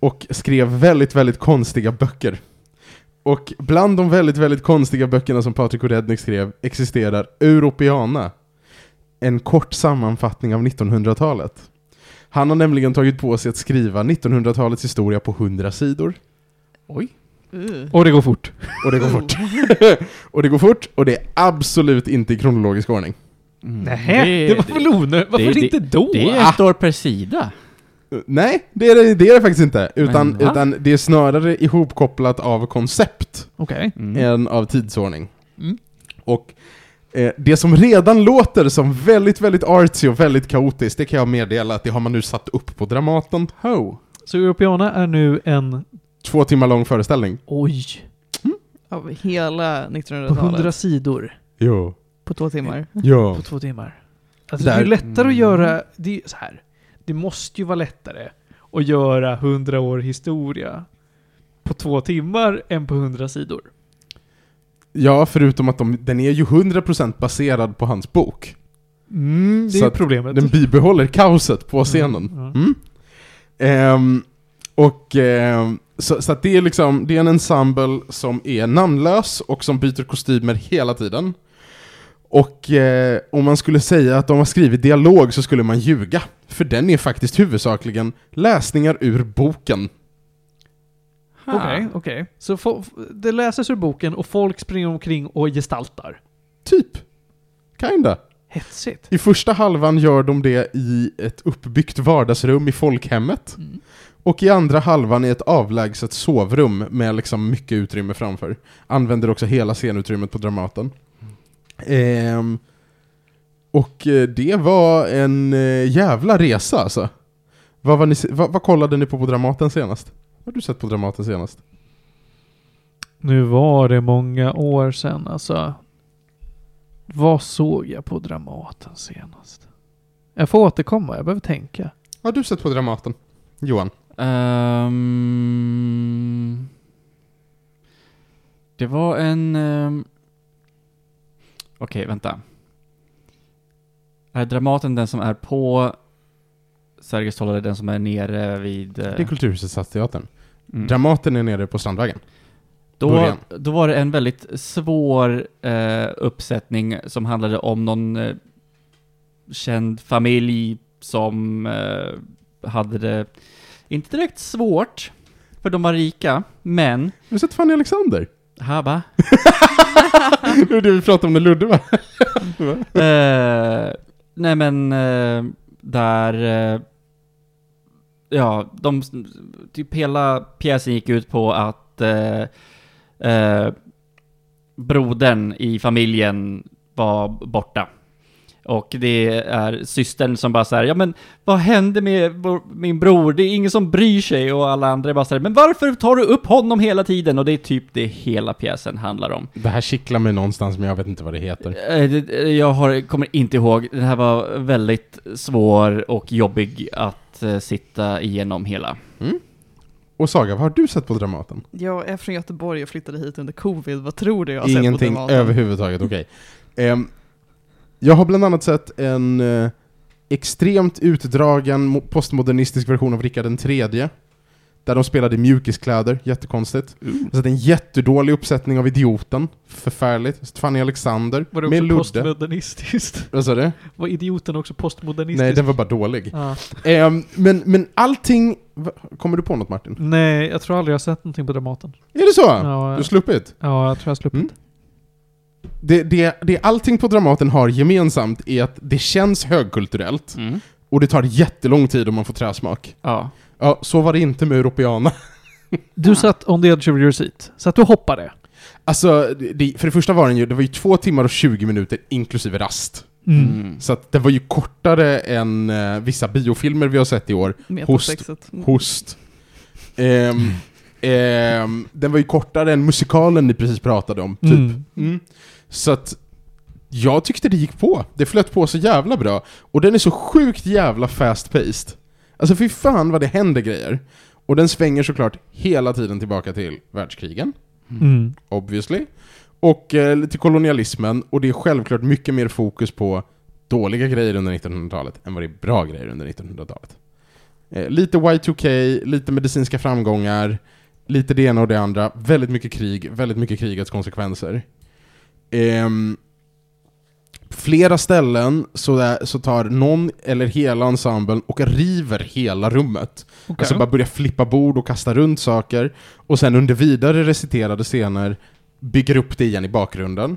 Speaker 1: och skrev väldigt, väldigt konstiga böcker. Och bland de väldigt, väldigt konstiga böckerna som Patrik Orednik skrev existerar Europeana, en kort sammanfattning av 1900-talet. Han har nämligen tagit på sig att skriva 1900-talets historia på 100 sidor.
Speaker 4: Oj.
Speaker 3: Uh.
Speaker 2: Och det går fort.
Speaker 1: Och det går fort. [LAUGHS] och det går fort, och det är absolut inte i kronologisk ordning.
Speaker 4: Mm.
Speaker 2: Nähä, det, var väl onödigt? Varför
Speaker 4: det-
Speaker 2: inte då? Ah,
Speaker 4: Det står per sida.
Speaker 1: Uh, Nej, det är det, det, är det faktiskt inte. Utan,
Speaker 4: Men va?
Speaker 1: utan det är snarare ihopkopplat av koncept
Speaker 2: Okej.
Speaker 4: Mm.
Speaker 1: än av tidsordning.
Speaker 2: Mm.
Speaker 1: Och eh, det som redan låter som väldigt, väldigt artsy och väldigt kaotiskt, det kan jag meddela att det har man nu satt upp på Dramaten.
Speaker 4: Ho.
Speaker 2: Så Europeana är nu en...
Speaker 1: Två timmar lång föreställning.
Speaker 2: Oj.
Speaker 3: Av hela
Speaker 2: På hundra
Speaker 3: 1900-talet.
Speaker 2: sidor.
Speaker 1: Jo.
Speaker 3: På två timmar.
Speaker 1: Jo.
Speaker 2: På två timmar. Alltså
Speaker 1: Där-
Speaker 2: det är ju lättare
Speaker 4: Mm.
Speaker 2: att göra... Det är så här. Det måste ju vara lättare att göra hundra år historia på två timmar än på hundra sidor.
Speaker 1: Ja, förutom att de, den är ju 100% baserad på hans bok.
Speaker 2: Mm, det
Speaker 1: Så
Speaker 2: är ju
Speaker 1: att
Speaker 2: problemet.
Speaker 1: Den bibehåller kaoset på scenen.
Speaker 2: Mm, ja.
Speaker 1: Mm. Ehm, och ehm, så, så att det är liksom, det är en ensemble som är namnlös och som byter kostymer hela tiden. Och eh, om man skulle säga att de har skrivit dialog så skulle man ljuga. För den är faktiskt huvudsakligen läsningar ur boken.
Speaker 4: Ha.
Speaker 2: Okej, okej. Så fo- f- det läses ur boken och folk springer omkring och gestaltar.
Speaker 1: Typ. Kinda.
Speaker 2: Hetsigt.
Speaker 1: I första halvan gör de det i ett uppbyggt vardagsrum i folkhemmet.
Speaker 2: Mm.
Speaker 1: Och i andra halvan i ett avlägset sovrum med liksom mycket utrymme framför. Använder också hela scenutrymmet på Dramaten. Ehm, och eh, det var en eh, jävla resa alltså. Vad, var ni, se- vad, vad kollade ni på på Dramaten senast? Vad har du sett på Dramaten senast?
Speaker 2: Nu var det många år sedan alltså. Vad såg jag på Dramaten senast? Jag får återkomma, jag behöver tänka.
Speaker 1: Vad har du sett på Dramaten? Johan?
Speaker 4: Ehm, det var en... ehm, Okej, vänta. Är Dramaten den som är på Sergels torg eller den som är nere vid... eh,
Speaker 1: Det är Kulturhuset Stadsteatern.
Speaker 4: mm.
Speaker 1: Dramaten är nere på Strandvägen.
Speaker 4: Då,
Speaker 1: Början.
Speaker 4: då var det en väldigt svår eh, uppsättning som handlade om någon eh, känd familj som eh, hade det inte direkt svårt, för de var rika, men...
Speaker 1: Har du sett Fanny Alexander?
Speaker 4: Haba.
Speaker 1: det var det vi pratade om när Ludde var
Speaker 4: [LAUGHS] eh, nej men, eh, där... Eh, ja, de... Typ hela pjäsen gick ut på att eh, eh, brodern i familjen var borta. Och det är systern som bara säger ja men vad hände med vår- min bror? Det är ingen som bryr sig och alla andra är bara såhär, men varför tar du upp honom hela tiden? Och det är typ det hela pjäsen handlar om.
Speaker 1: Det här kittlar mig någonstans men jag vet inte vad det heter.
Speaker 4: Eh, det- eh, Jag har, kommer inte ihåg. Den här var väldigt svår och jobbig att eh, sitta igenom hela.
Speaker 1: Och Saga, vad har du sett på Dramaten?
Speaker 3: Jag är från Göteborg och flyttade hit under covid. Vad tror du jag har sett på Alltså,
Speaker 1: Ingenting
Speaker 3: Dramaten?
Speaker 1: överhuvudtaget, okej. [LAUGHS] Ehm, jag har bland annat sett en eh, extremt utdragen mo- postmodernistisk version av Rickard den tredje. Där de spelade i mjukiskläder, jättekonstigt. Jag har sett en jättedålig uppsättning av Idioten, förfärligt. Jag har sett Fanny Alexander,
Speaker 2: Var det
Speaker 1: med
Speaker 2: också
Speaker 1: Ludde.
Speaker 2: postmodernistiskt? [LAUGHS]
Speaker 1: Vad sa du?
Speaker 2: Var idioten också postmodernistisk?
Speaker 1: Nej, den var bara dålig.
Speaker 2: Ah.
Speaker 1: Ehm, men, men allting... Va- Kommer du på något Martin?
Speaker 2: Nej, jag tror aldrig jag har sett någonting på Dramaten.
Speaker 1: Är det så?
Speaker 2: Ja,
Speaker 1: Du har
Speaker 2: jag-
Speaker 1: sluppit?
Speaker 2: Ja, jag tror jag har sluppit.
Speaker 1: Mm. det, det, det allting på Dramaten har gemensamt är att det känns högkulturellt och det tar jättelång tid om man får träsmak.
Speaker 4: Ja.
Speaker 1: Ja, så var det inte med Europeana. [LAUGHS]
Speaker 2: Du satt on the edge of your seat, så att du hoppade.
Speaker 1: Alltså, det- det, för det första var den ju, det var ju två timmar och 20 minuter inklusive rast.
Speaker 4: Mm.
Speaker 1: Så att det var ju kortare än eh, vissa biofilmer vi har sett i år.
Speaker 3: Metasexet.
Speaker 1: Host. Ehm, [LAUGHS] ehm, den var ju kortare än musikalen ni precis pratade om, typ.
Speaker 2: Mm.
Speaker 1: Mm. Så att jag tyckte det gick på. Det flöt på så jävla bra. Och den är så sjukt jävla fast-paced. Alltså fy fan vad det händer grejer. Och den svänger såklart hela tiden tillbaka till världskrigen,
Speaker 2: Mm.
Speaker 1: obviously. Och eh, till kolonialismen, och det är självklart mycket mer fokus på dåliga grejer under 1900-talet än vad det är bra grejer under 1900-talet. Eh, lite Y2K, lite medicinska framgångar, lite det ena och det andra, väldigt mycket krig, väldigt mycket krigets konsekvenser. Ehm, på flera ställen så, där, så tar någon eller hela ensemblen och river hela rummet.
Speaker 2: Okej.
Speaker 1: Alltså bara börjar flippa bord och kasta runt saker. Och sen under vidare reciterade scener bygger upp det igen i bakgrunden.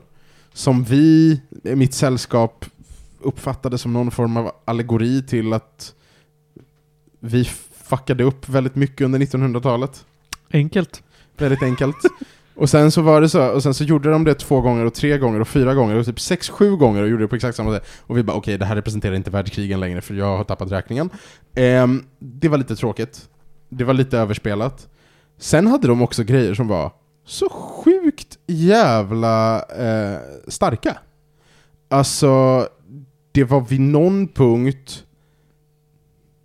Speaker 1: Som vi, mitt sällskap, uppfattade som någon form av allegori till att vi fuckade upp väldigt mycket under 1900-talet.
Speaker 2: Enkelt.
Speaker 1: Väldigt enkelt. Och sen så var det så, och sen så gjorde de det två gånger och tre gånger och fyra gånger och typ sex, sju gånger och gjorde det på exakt samma sätt. Och vi bara okej, det här representerar inte världskrigen längre för jag har tappat räkningen. Ehm, det var lite tråkigt. Det var lite överspelat. Sen hade de också grejer som var så sjukt jävla eh, starka. Alltså, det var vid någon punkt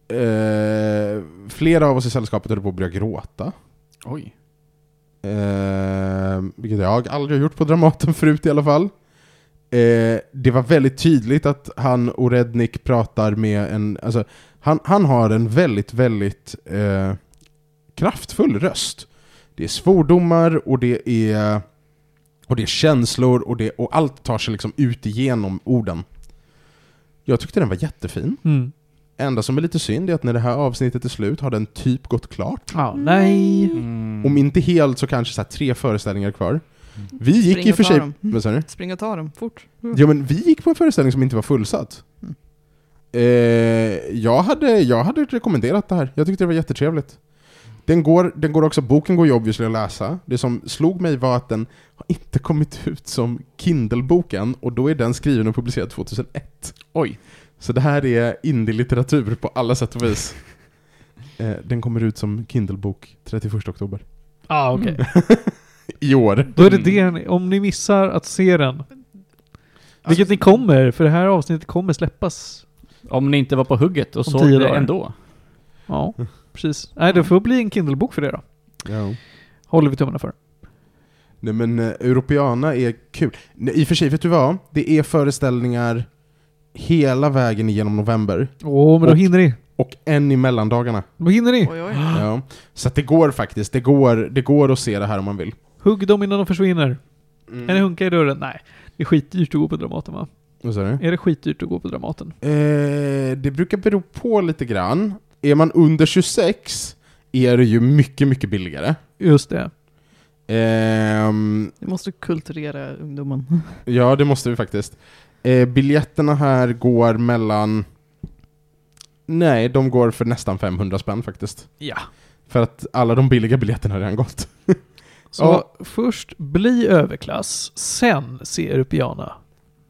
Speaker 1: eh, flera av oss i sällskapet höll på att börja gråta.
Speaker 4: Oj.
Speaker 1: Eh, vilket jag aldrig har gjort på Dramaten förut i alla fall. Eh, det var väldigt tydligt att han och Rednick pratar med en... Alltså, han, han har en väldigt, väldigt eh, kraftfull röst. Det är svordomar och det är, och det är känslor och, det, och allt tar sig liksom ut igenom orden. Jag tyckte den var jättefin.
Speaker 2: Mm.
Speaker 1: Enda som är lite synd är att när det här avsnittet är slut har den typ gått klart.
Speaker 2: Ah, nej.
Speaker 4: Mm.
Speaker 1: Om inte helt så kanske så här tre föreställningar kvar. Vi gick i och
Speaker 3: Spring och
Speaker 1: för
Speaker 3: ta
Speaker 1: sig...
Speaker 3: dem.
Speaker 1: Vad sa du?
Speaker 3: Spring och ta dem, fort.
Speaker 1: Jo men vi gick på en föreställning som inte var fullsatt.
Speaker 3: Mm.
Speaker 1: Eh, jag, hade, jag hade rekommenderat det här. Jag tyckte det var jättetrevligt. Den går, den går också, boken går ju obviously att läsa. Det som slog mig var att den har inte kommit ut som Kindle-boken och då är den skriven och publicerad 2001.
Speaker 4: Oj.
Speaker 1: Så det här är indie-litteratur på alla sätt och vis. Eh, den kommer ut som Kindle-bok 31 oktober.
Speaker 2: Ah, okej.
Speaker 1: I år.
Speaker 2: Då är det det ni, om ni missar att se den.
Speaker 1: Alltså,
Speaker 2: Vilket ni kommer, för det här avsnittet kommer släppas.
Speaker 4: Om ni inte var på hugget och
Speaker 2: Om
Speaker 4: såg
Speaker 2: tio
Speaker 4: det
Speaker 2: dagar.
Speaker 4: ändå.
Speaker 1: [LAUGHS]
Speaker 2: Ja, precis. Nej, det får bli en Kindle-bok för det då.
Speaker 1: Ja.
Speaker 2: Håller vi tummarna för.
Speaker 1: Nej men eh, Europeana är kul. Nej, I och för sig, vet du vad? Det är föreställningar hela vägen igenom november.
Speaker 2: Åh, men då
Speaker 1: Och-
Speaker 2: hinner ni.
Speaker 1: Och en i mellandagarna.
Speaker 2: Då hinner ni.
Speaker 3: Oj, oj.
Speaker 1: Ja. Så att det går faktiskt. Det går, det går att se det här om man vill.
Speaker 2: Hugg dem innan de försvinner.
Speaker 1: Mm.
Speaker 2: Är det hunka i dörren? Nej. Det är skitdyrt att gå på Dramaten va?
Speaker 1: Vad sa du?
Speaker 2: Är det skitdyrt att gå på Dramaten?
Speaker 1: Eh, det brukar bero på lite grann. Är man under 26 är det ju mycket, mycket billigare.
Speaker 2: Just det.
Speaker 1: Ehm,
Speaker 3: Vi måste kulturera ungdomen.
Speaker 1: Ja, det måste vi faktiskt. Eh, biljetterna här går mellan... Nej, de går för nästan 500 spänn faktiskt.
Speaker 2: Ja.
Speaker 1: För att alla de billiga biljetterna har redan gått.
Speaker 2: Så
Speaker 1: Ja.
Speaker 2: först bli överklass, sen se Europeana.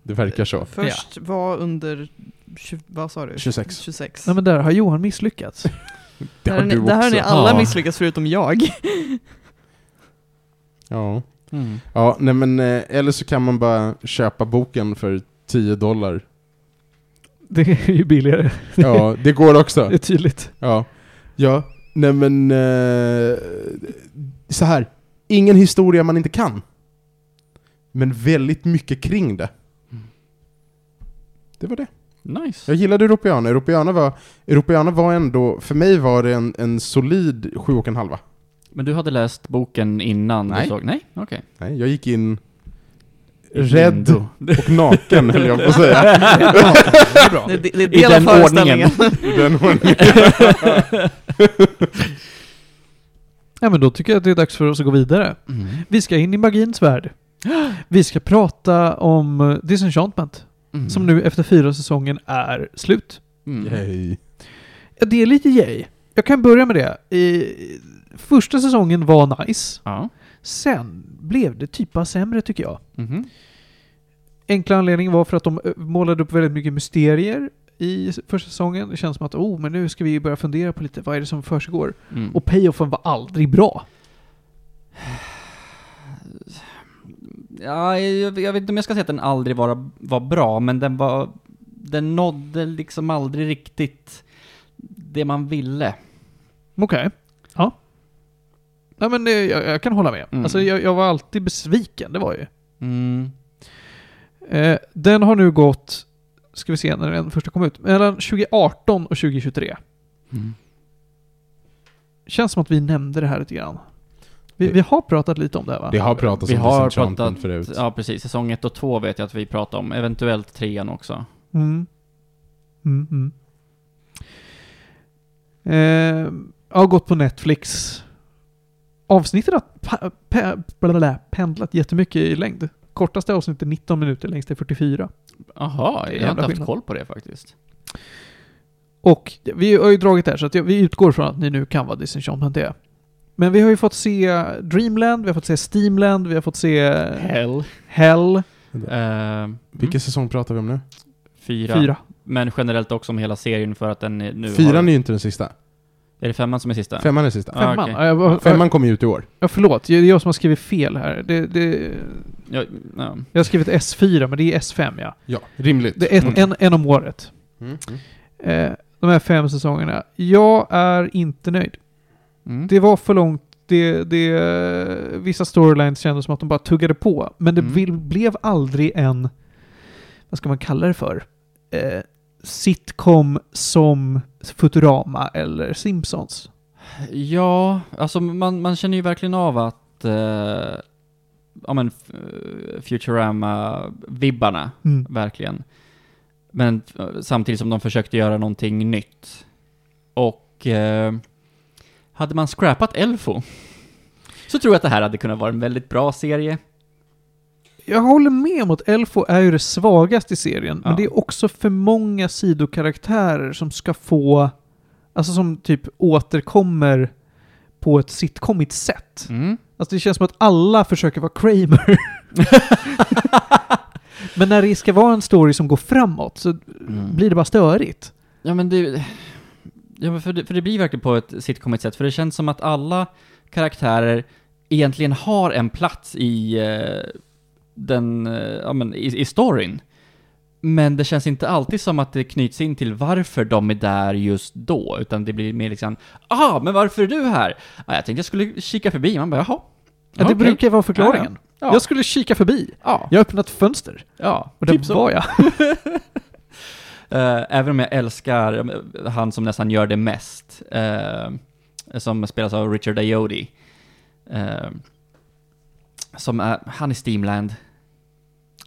Speaker 1: Det verkar så.
Speaker 3: Först var under, tju- vad sa du?
Speaker 1: 26.
Speaker 3: 26.
Speaker 2: Nej men där har Johan misslyckats. [LAUGHS]
Speaker 1: Det
Speaker 3: det
Speaker 1: har
Speaker 3: här, är ni,
Speaker 1: du
Speaker 3: det här har
Speaker 1: också.
Speaker 3: ni alla
Speaker 4: Ja.
Speaker 3: misslyckats förutom jag.
Speaker 1: Ja. ja, nej men eh, eller så kan man bara köpa boken för 10 dollar.
Speaker 2: Det är ju billigare,
Speaker 1: Ja, det går också.
Speaker 2: [LAUGHS] det är tydligt.
Speaker 1: Ja. Ja, nej men... Eh, så här. Ingen historia man inte kan. Men väldigt mycket kring det. Det var det.
Speaker 4: Nice.
Speaker 1: Jag gillade Europeana. Europeana var, Europeana var ändå, för mig var det en, en solid sju och en halva.
Speaker 4: Men du hade läst boken innan
Speaker 1: Nej.
Speaker 4: du såg? Nej. Okej.
Speaker 1: Nej, jag gick in rädd
Speaker 4: Lindo.
Speaker 1: och naken höll [LAUGHS] jag på att säga.
Speaker 3: Det, det, det är
Speaker 4: [LAUGHS] I
Speaker 3: del av
Speaker 4: den
Speaker 3: föreställningen.
Speaker 4: ordningen.
Speaker 1: I den ordningen.
Speaker 2: Ja men då tycker jag att det är dags för oss att gå vidare.
Speaker 4: Mm.
Speaker 2: Vi ska in i magins värld. Vi ska prata om eh, Disenchantment,
Speaker 4: Mm.
Speaker 2: som nu efter fyra säsongen är slut.
Speaker 4: Mm.
Speaker 1: Yay.
Speaker 2: Ja, det är lite yay. Jag kan börja med det. I, första säsongen var nice.
Speaker 4: Ja.
Speaker 2: Sen blev det typ bara sämre tycker jag.
Speaker 4: Mhm.
Speaker 2: Enkla anledningen var för att de eh, målade upp väldigt mycket mysterier i s- första säsongen. Det känns som att oh, men nu ska vi börja fundera på lite vad är det som försiggår.
Speaker 4: Mm.
Speaker 2: Och payoffen var aldrig bra.
Speaker 4: Ja, jag, jag vet inte om jag ska säga att den aldrig var, var bra, men den var... Den nådde liksom aldrig riktigt det man ville.
Speaker 2: Okej. Ja. Nej men eh, jag, jag kan hålla med.
Speaker 4: Mm.
Speaker 2: Alltså jag, jag var alltid besviken, det var ju.
Speaker 4: Mm.
Speaker 2: Eh, den har nu gått, ska vi se när den första kom ut, mellan 2018 och 2023. Mm. känns som att vi nämnde det här lite grann. Vi,
Speaker 1: Det-
Speaker 2: vi har pratat lite om det här va?
Speaker 1: Det har pratats
Speaker 4: Vi
Speaker 1: om
Speaker 4: har
Speaker 1: Disenchantment
Speaker 4: pratat...
Speaker 1: förut.
Speaker 4: Ja, precis. Säsong ett och två vet jag att vi pratade om. Eventuellt trean också.
Speaker 2: Mm. Mm, mm. Eh, jag har gått på Netflix. Avsnittet har pa- pe- blablabla, pendlat jättemycket i längd. Kortaste avsnittet är 19 minuter, längst är 44.
Speaker 4: Jaha, jag har
Speaker 2: Jävla
Speaker 4: inte haft
Speaker 2: skillnad.
Speaker 4: koll på det faktiskt.
Speaker 2: Och vi har ju dragit det här så att jag- vi utgår från att ni nu kan vad Disenchantment är. Men vi har ju fått se Dreamland, vi har fått se Steamland, vi har fått se
Speaker 4: Hell.
Speaker 2: Hell
Speaker 4: Uh,
Speaker 1: Vilken säsong pratar vi om nu?
Speaker 4: mm, Fyra.
Speaker 2: 4.
Speaker 4: Men generellt också om hela serien för att den är- nu
Speaker 1: Fyran är
Speaker 4: har...
Speaker 1: ju inte den sista.
Speaker 4: Är det femman som är sista?
Speaker 1: Femman är sista.
Speaker 4: Ja,
Speaker 2: Femman.
Speaker 4: Ah, okej.
Speaker 2: Ja, jag var-
Speaker 1: Femman kommer ju ut i år.
Speaker 2: Ja, förlåt. Det är jag som har skrivit fel här. Det, det,
Speaker 4: Ja, ja. Mm.
Speaker 2: jag har skrivit S4, men det är S5 ja.
Speaker 1: Ja, rimligt.
Speaker 2: Det är ett,
Speaker 4: Mm.
Speaker 2: en, en om året.
Speaker 1: Mm.
Speaker 2: Eh, de här fem säsongerna. Jag är inte nöjd.
Speaker 4: Mm.
Speaker 2: Det var för långt. Det, det, vissa storylines kändes som att de bara tuggade på. Men det
Speaker 4: Mm.
Speaker 2: vill, blev aldrig en, vad ska man kalla det för? Eh, sitcom som Futurama eller Simpsons.
Speaker 4: Ja, alltså man, man känner ju verkligen av att eh, ja, men, f- eh, Futurama-vibbarna,
Speaker 2: Mm.
Speaker 4: verkligen. Men eh, samtidigt som de försökte göra någonting nytt. Och eh, hade man scrappat Elfo så tror jag att det här hade kunnat vara en väldigt bra serie.
Speaker 2: jag håller med om att Elfo är ju det svagaste i serien, men
Speaker 4: Ja.
Speaker 2: det är också för många sidokaraktärer som ska få, alltså som typ återkommer på ett sitcomigt sätt.
Speaker 4: Mm.
Speaker 2: Alltså det känns som att alla försöker vara
Speaker 4: [LAUGHS]
Speaker 2: Kramer. men när det ska vara en story som går framåt så
Speaker 4: Mm.
Speaker 2: blir det bara störigt.
Speaker 4: Ja men det... Ja, men för, det för det blir verkligen på ett sitcomigt sätt, för det känns som att alla karaktärer egentligen har en plats i eh, den, eh, ja men i, i storyn. Men det känns inte alltid som att det knyts in till varför de är där just då, utan det blir mer liksom ah, men varför är du här?” ah, ”Jag tänkte jag skulle kika förbi”, man bara ”Jaha”.
Speaker 2: Ja, det
Speaker 4: Okej.
Speaker 2: brukar vara förklaringen.
Speaker 4: Ja, ja.
Speaker 2: Jag skulle kika förbi.
Speaker 4: Ja,
Speaker 2: Jag har öppnat ett fönster.
Speaker 4: ja,
Speaker 2: Och där
Speaker 4: typ så.
Speaker 2: var jag.
Speaker 4: Eh, även om jag älskar eh, han som nästan gör det mest, eh, som spelas av Richard Ayoade. Eh, som är, han är Steamland.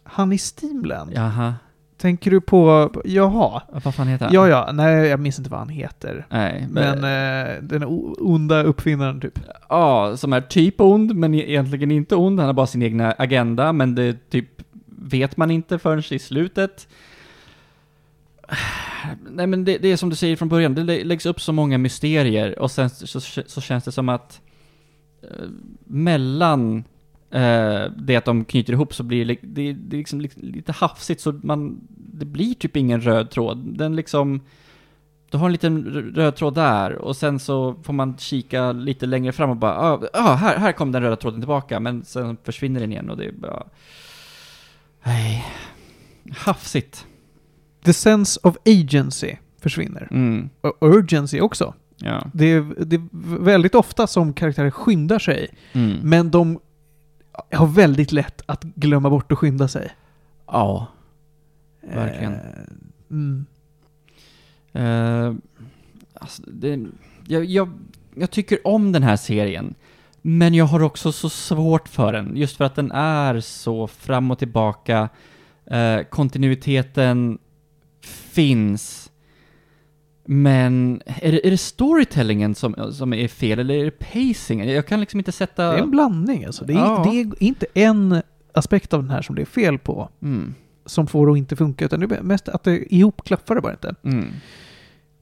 Speaker 2: Han i Steamland.
Speaker 4: Jaha,
Speaker 2: Tänker du på, jaha.
Speaker 4: vad fan heter han?
Speaker 2: Ja, ja. Nej, jag minns inte vad han heter.
Speaker 4: Nej, men...
Speaker 2: Men
Speaker 4: Ja,
Speaker 2: eh, den o- onda uppfinnaren typ.
Speaker 4: som är typ ond, men e- egentligen inte ond. Han har bara sin egna agenda, men det typ vet man inte förrän i slutet. Nej men det, det är som du säger från början, det lä- läggs upp så många mysterier och sen så, så, så känns det som att eh, mellan eh, det att de knyter ihop så blir det, li- det, det är liksom li- lite hafsigt så man, det blir typ ingen röd tråd. Den liksom, du har en liten r- röd tråd där och sen så får man kika lite längre fram och bara ah, ah, här, här kom den röda tråden tillbaka men sen försvinner den igen och det är bara... Nej. Hafsigt.
Speaker 2: The sense of agency försvinner.
Speaker 4: Mm.
Speaker 2: Och urgency också.
Speaker 4: Ja.
Speaker 2: Det är, det är väldigt ofta som karaktärer skyndar sig,
Speaker 4: Mm.
Speaker 2: men de har väldigt lätt att glömma bort att skynda sig.
Speaker 4: Ja. Verkligen.
Speaker 2: Eh, Mm.
Speaker 4: Eh, alltså, det, jag, jag, jag tycker om den här serien, men jag har också så svårt för den. Just för att den är så fram och tillbaka. Eh, kontinuiteten finns. Men är det, är det storytellingen som, som är fel, eller är det pacingen? Jag kan liksom inte
Speaker 2: Det
Speaker 4: sätta...
Speaker 2: är en blandning alltså. Det är,
Speaker 4: Ja.
Speaker 2: det är inte en aspekt av den här som det är fel på,
Speaker 4: Mm,
Speaker 2: som får det att inte funka, utan det är mest att det ihop klaffar det bara inte.
Speaker 4: mm,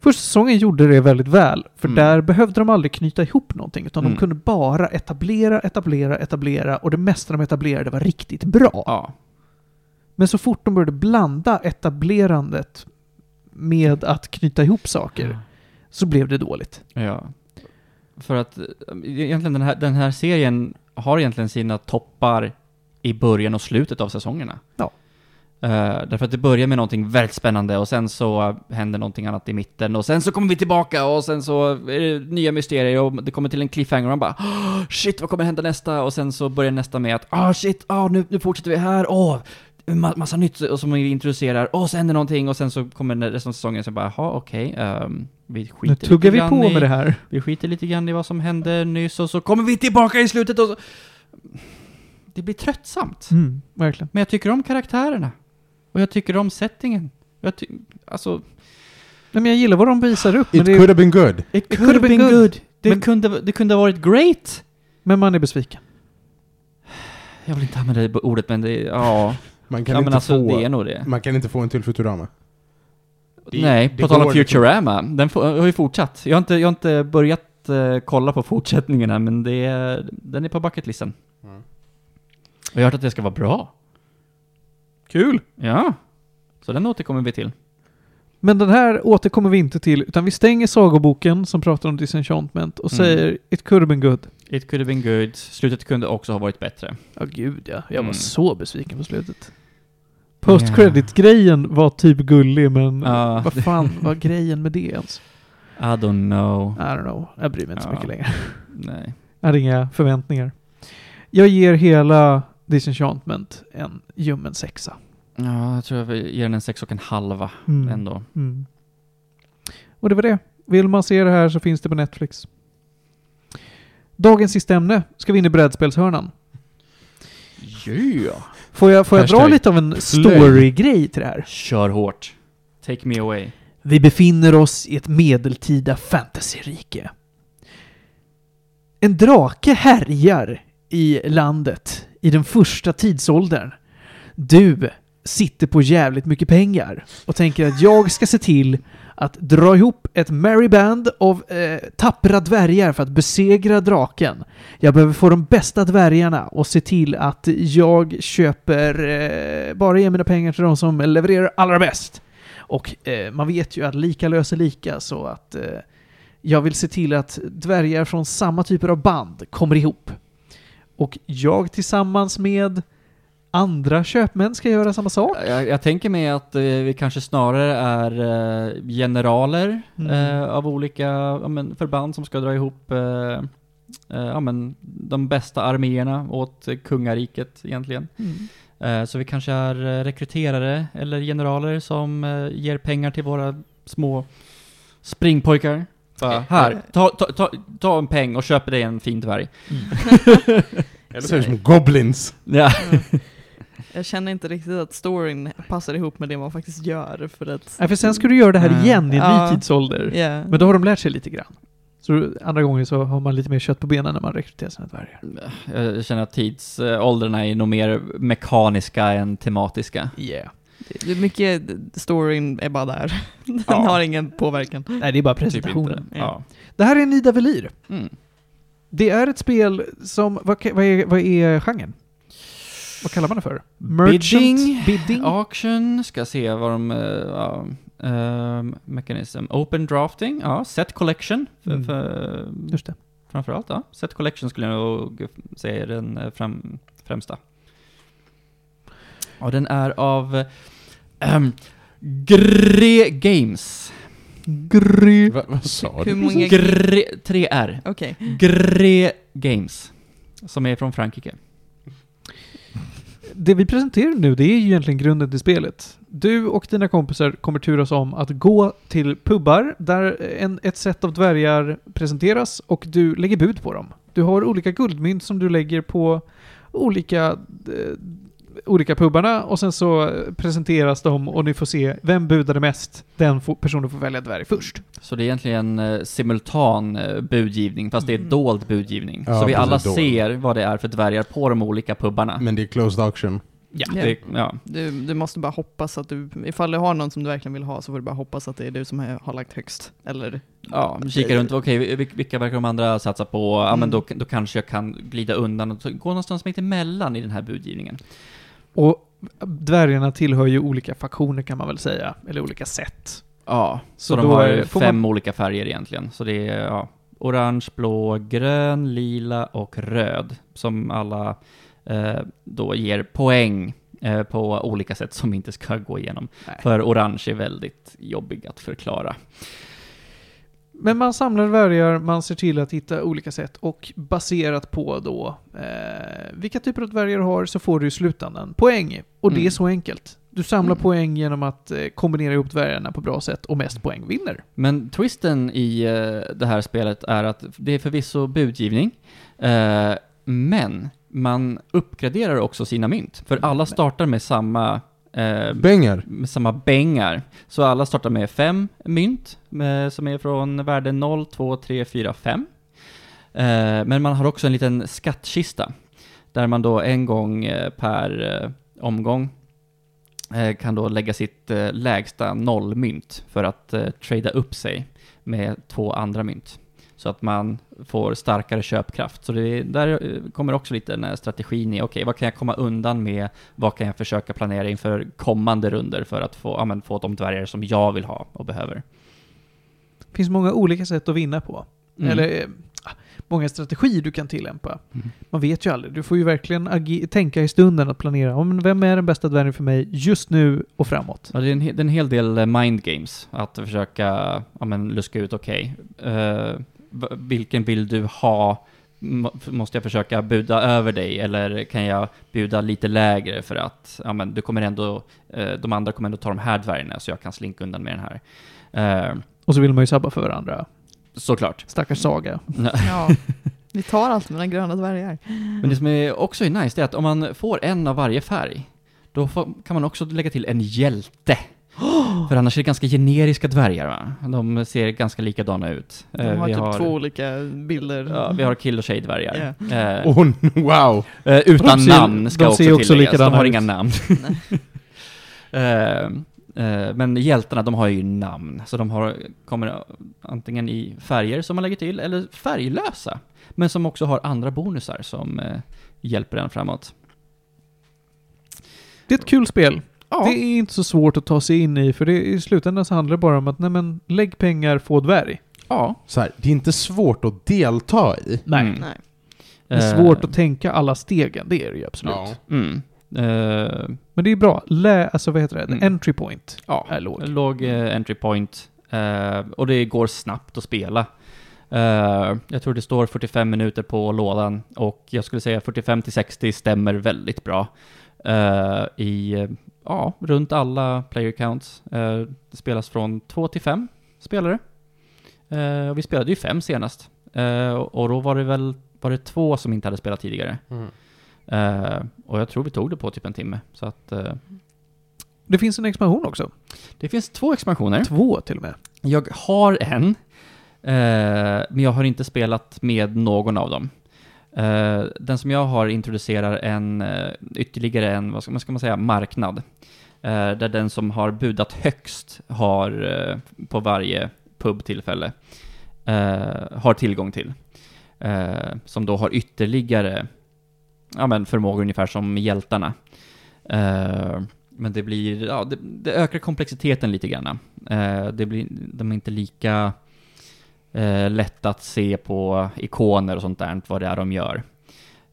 Speaker 2: Första säsongen gjorde det väldigt väl, för
Speaker 4: Mm.
Speaker 2: där behövde de aldrig knyta ihop någonting, utan
Speaker 4: Mm.
Speaker 2: de kunde bara etablera, etablera, etablera, och det mesta de etablerade var riktigt bra.
Speaker 4: ja.
Speaker 2: Men så fort de började blanda etablerandet med att knyta ihop
Speaker 4: Mm.
Speaker 2: saker så blev det dåligt.
Speaker 4: Ja. För att eh, egentligen den här, den här serien har egentligen sina toppar i början och slutet av säsongerna.
Speaker 2: Ja.
Speaker 4: Eh, därför att det börjar med någonting väldigt spännande och sen så händer någonting annat i mitten och sen så kommer vi tillbaka och sen så är det nya mysterier och det kommer till en cliffhanger och man bara "Åh, shit vad kommer hända nästa? Och sen så börjar nästa med att ah shit, ah, nu, nu fortsätter vi här, åh ma- massa nytt och som vi introducerar och så händer någonting och sen så kommer resten av säsongen så bara jaha okej, ehm, vi skiter
Speaker 2: nu
Speaker 4: lite
Speaker 2: tuggar vi
Speaker 4: grann
Speaker 2: på
Speaker 4: i-
Speaker 2: med det här.
Speaker 4: vi skiter lite grann i vad som hände nyss och så kommer vi tillbaka i slutet och så... Det blir tröttsamt.
Speaker 2: Mm, verkligen.
Speaker 4: Men jag tycker om karaktärerna. Och jag tycker om settingen. Jag ty- alltså...
Speaker 2: Nej, men jag gillar vad de visar upp, men,
Speaker 1: It
Speaker 2: det
Speaker 1: could
Speaker 2: är,
Speaker 1: have been good.
Speaker 4: It
Speaker 2: could have been good.
Speaker 4: Det,
Speaker 2: Men-
Speaker 4: kunde, det kunde ha varit great!
Speaker 2: men man är besviken.
Speaker 4: Jag vill inte använda det ordet men det... Ja.
Speaker 1: Man kan,
Speaker 4: ja men
Speaker 1: inte,
Speaker 4: alltså
Speaker 1: få,
Speaker 4: det är nog det.
Speaker 1: man kan inte få en till Futurama. Det-
Speaker 4: Nej,
Speaker 1: det
Speaker 4: på tal om
Speaker 1: går liksom-
Speaker 4: Futurama. Den får- har ju fortsatt. Jag har inte, jag har inte börjat eh, kolla på fortsättningen än men det, är- den är på bucketlisten.
Speaker 1: Mm.
Speaker 4: Och jag har hört att det ska vara bra.
Speaker 2: Kul!
Speaker 4: Ja. Så den återkommer vi till.
Speaker 2: Men den här återkommer vi inte till, utan vi stänger sagoboken som pratar om disenchantment och
Speaker 4: Mm.
Speaker 2: säger It could have been good.
Speaker 4: It could have been good. Slutet kunde också ha varit bättre.
Speaker 2: Ja, gud ja. Jag var
Speaker 4: Mm.
Speaker 2: så besviken på slutet. Post credit-grejen var typ gullig, men
Speaker 4: Ja.
Speaker 2: vad fan var grejen med det ens?
Speaker 4: I don't know.
Speaker 2: I don't know. Jag bryr mig inte så
Speaker 4: Ja.
Speaker 2: mycket längre.
Speaker 4: Nej.
Speaker 2: Jag hade inga förväntningar. Jag ger hela Disenchantment en ljummen sexa.
Speaker 4: Ja, jag tror jag vill ge den en sex och en halva
Speaker 2: Mm.
Speaker 4: ändå.
Speaker 2: Mm. Och det var det. Vill man se det här så finns det på Netflix. Dagens sista ämne ska vi in i brädspelshörnan.
Speaker 4: Yeah.
Speaker 2: Får jag, får jag dra
Speaker 1: Hashtag
Speaker 2: lite av en story-grej till det här?
Speaker 4: Kör hårt. Take me away.
Speaker 2: Vi befinner oss i ett medeltida fantasyrike. En drake härjar i landet i den första tidsåldern du sitter på jävligt mycket pengar och tänker att jag ska se till att dra ihop ett merry band av eh, tappra dvärgar för att besegra draken. Jag behöver få de bästa dvärgarna och se till att jag köper, eh, bara ge mina pengar till de som levererar allra bäst. Och eh, man vet ju att lika löser lika så att eh, jag vill se till att dvärgar från samma typer av band kommer ihop. Och jag tillsammans med andra köpmän ska göra samma sak.
Speaker 4: Jag, jag tänker mig att eh, vi kanske snarare är eh, generaler
Speaker 2: Mm.
Speaker 4: eh, av olika ja, men, förband som ska dra ihop eh, eh, ja, men, de bästa arméerna åt eh, kungariket egentligen.
Speaker 3: Mm.
Speaker 4: Eh, så vi kanske är eh, rekryterare eller generaler som eh, ger pengar till våra små springpojkar. Bara, här, ta, ta, ta, ta en peng och köp dig en fin dvärg.
Speaker 1: Eller så är det som goblins.
Speaker 4: Ja.
Speaker 3: Jag känner inte riktigt att storyn passar ihop med det man faktiskt gör för att...
Speaker 2: Nej, för sen ska du göra det här
Speaker 4: Mm.
Speaker 2: igen i en
Speaker 3: Ja.
Speaker 2: ny tidsålder.
Speaker 3: Ja.
Speaker 2: Men då har de lärt sig lite grann. Så andra gången så har man lite mer kött på benen när man rekryterar sina dvärgar.
Speaker 4: Jag känner att tidsåldrarna är nog mer mekaniska än tematiska.
Speaker 2: Yeah.
Speaker 3: Det är mycket storyn är bara där. Den
Speaker 4: Ja.
Speaker 3: har ingen påverkan.
Speaker 2: Mm. Nej, det är bara
Speaker 4: Typ
Speaker 2: presentationen.
Speaker 4: inte. Ja.
Speaker 2: det här är Nida Velir.
Speaker 4: Mm.
Speaker 2: Det är ett spel som, vad, ka- vad, är, vad är genren? Vad kallar man det för?
Speaker 4: Bidding.
Speaker 2: Bidding?
Speaker 4: Auction, ska se vad de... eh, ja, ehm, mechanism. Open drafting, ja. Set collection. För,
Speaker 2: Mm.
Speaker 4: för,
Speaker 2: Just det.
Speaker 4: framförallt, ja. Set collection skulle jag nog säga är den eh, fram, främsta. Och den är av... ehm, Gre Games.
Speaker 2: Gry.
Speaker 1: Va, vad sa
Speaker 3: Hur
Speaker 1: du?
Speaker 3: många...
Speaker 4: Gre... 3R.
Speaker 3: Okej.
Speaker 4: Gre Games. Som är från Frankrike.
Speaker 2: Det vi presenterar nu, det är ju egentligen grunden till spelet. Du och dina kompisar kommer turas om att gå till pubbar där en, ett set av dvärgar presenteras och du lägger bud på dem. Du har olika guldmynt som du lägger på olika, eh, olika pubbarna och sen så presenteras de och ni får se vem budade mest. Den får, personen får välja dvärg först.
Speaker 4: Så det är egentligen eh, simultan eh, budgivning, fast det är
Speaker 3: Mm.
Speaker 4: dold budgivning.
Speaker 1: Ja,
Speaker 4: så vi
Speaker 1: precis,
Speaker 4: alla
Speaker 1: dold.
Speaker 4: ser vad det är för dvärgar på de olika pubbarna.
Speaker 1: Men det är closed auction.
Speaker 4: Ja,
Speaker 3: Ja.
Speaker 4: det, ja.
Speaker 3: Du, du måste bara hoppas att du... Ifall du har någon som du verkligen vill ha så får du bara hoppas att det är du som har har lagt högst. Eller...
Speaker 4: ja vi
Speaker 2: eh,
Speaker 4: kikar runt, okej vil- vilka verkar de andra satsa på? Ja
Speaker 2: Mm.
Speaker 4: men då, då kanske jag kan glida undan och ta- gå någonstans mitt emellan i den här budgivningen.
Speaker 2: Och dvärgarna tillhör ju olika faktioner kan man väl säga, eller olika sätt.
Speaker 4: Ja, så,
Speaker 2: Så
Speaker 4: de
Speaker 2: då
Speaker 4: har
Speaker 2: är- får
Speaker 4: fem olika färger egentligen. Så det är ja, orange, blå, grön, lila och röd. Som alla eh, då ger poäng eh, på olika sätt som vi inte ska gå igenom.
Speaker 2: Nej.
Speaker 4: För orange är väldigt jobbig att förklara.
Speaker 2: Men man samlar dvärgar, man ser till att hitta olika sätt och baserat på då eh, vilka typer av dvärgar du har så får du i slutändan poäng. Och det
Speaker 4: Mm.
Speaker 2: är så enkelt. Du samlar
Speaker 4: Mm.
Speaker 2: poäng genom att eh, kombinera ihop dvärgarna på bra sätt och mest poäng vinner.
Speaker 4: Men twisten i eh, det här spelet är att det är förvisso budgivning, eh, men man uppgraderar också sina mynt. För alla startar med samma eh,
Speaker 1: Pengar.
Speaker 4: med samma bängar. Så alla startar med fem mynt med, som är från värde 0, 2, 3, 4, 5. Eh, men man har också en liten skattkista där man då en gång eh, per eh, omgång eh, kan då lägga sitt eh, lägsta nollmynt för att eh, trada upp sig med två andra mynt. Så att man får starkare köpkraft. Så det, där eh, kommer också lite den här strategin i, okej, vad kan jag komma undan med vad kan jag försöka planera inför kommande runder för att få, ja, men, få de dvärgar som jag vill ha och behöver?
Speaker 2: Det finns många olika sätt att vinna på.
Speaker 4: Mm.
Speaker 2: Eller eh, många strategier du kan tillämpa.
Speaker 4: Mm.
Speaker 2: Man vet ju aldrig. Du får ju verkligen agi- tänka i stunden att planera. Om vem är den bästa dvärgen för mig just nu och framåt?
Speaker 4: Ja, det, är en, he- det är en hel del eh, mind games att försöka ja, men, luska ut, okej, eh, v- vilken vill du ha? M- Måste jag försöka buda över dig eller kan jag buda lite lägre för att ja, men, du kommer ändå, eh, de andra kommer ändå ta de här dvärgarna så jag kan slinka undan med den här. Eh,
Speaker 2: Och så vill man ju sabba för varandra.
Speaker 4: såklart.
Speaker 2: Stackars Saga.
Speaker 3: Ja. Vi tar allt med den gröna dvärgar.
Speaker 4: Men det som är också
Speaker 2: [GASPS]
Speaker 4: är nice, det är att om man får en av varje färg, då får, kan man också lägga till en hjälte För annars är det ganska generiska dvärgar va? De ser ganska likadana ut.
Speaker 3: De
Speaker 4: Eh,
Speaker 3: har
Speaker 4: vi
Speaker 3: typ två olika bilder.
Speaker 4: Ja, vi har kill och tjejdvärgar. Eh,
Speaker 1: Oh, wow!
Speaker 4: eh, utan
Speaker 2: De ser-
Speaker 4: namn ska
Speaker 2: de
Speaker 4: också
Speaker 2: ser ju också
Speaker 4: tilläggas, de
Speaker 2: likadana
Speaker 4: har
Speaker 2: ut.
Speaker 4: inga namn. Eh, [LAUGHS] eh, Men hjältarna, de har ju namn, så de har, kommer antingen i färger som man lägger till, eller färglösa. Men som också har andra bonusar som eh, hjälper en framåt.
Speaker 2: Det är ett kul spel.
Speaker 4: Ja.
Speaker 2: Det är inte så svårt att ta sig in i, för det, i slutändan så handlar det bara om att nej men, lägg pengar, få dvärg.
Speaker 4: ja.
Speaker 1: Så här, det är inte svårt att delta i.
Speaker 4: Mm.
Speaker 3: Nej.
Speaker 2: Det är
Speaker 4: Eh,
Speaker 2: svårt att tänka alla stegen, det är det ju absolut.
Speaker 4: Mm. Eh,
Speaker 2: Men det är bra. Lä, alltså vad heter det?
Speaker 4: Mm.
Speaker 2: Entry point
Speaker 4: ja.
Speaker 2: är låg.
Speaker 4: Låg eh, entry point. eh, och det går snabbt att spela. Eh, jag tror det står 45 minuter på lådan och jag skulle säga 45 till 60 stämmer väldigt bra. eh, I, eh, ja, runt alla player counts. Eh, det spelas från 2 till 5 spelare. Eh, och vi spelade ju 5 senast. Eh, och då var det väl, var det två som inte hade spelat tidigare. Eh, och jag tror vi tog det på typ en timme. Så att eh,
Speaker 2: Det finns en expansion också.
Speaker 4: det finns två expansioner.
Speaker 2: Två till och med.
Speaker 4: Jag har en, eh, men jag har inte spelat med någon av dem. Eh, den som jag har introducerar en, eh, ytterligare en, vad ska, man- ska man säga, marknad. Eh, där den som har budat högst har, eh, på varje pubtillfälle, eh, har tillgång till. Eh, som då har ytterligare ja, men förmågor ungefär som hjältarna. Eh, men det blir, ja, det, det ökar komplexiteten lite grann. Eh, det blir, de är inte lika eh, lätta att se på ikoner och sånt där, vad det är de gör.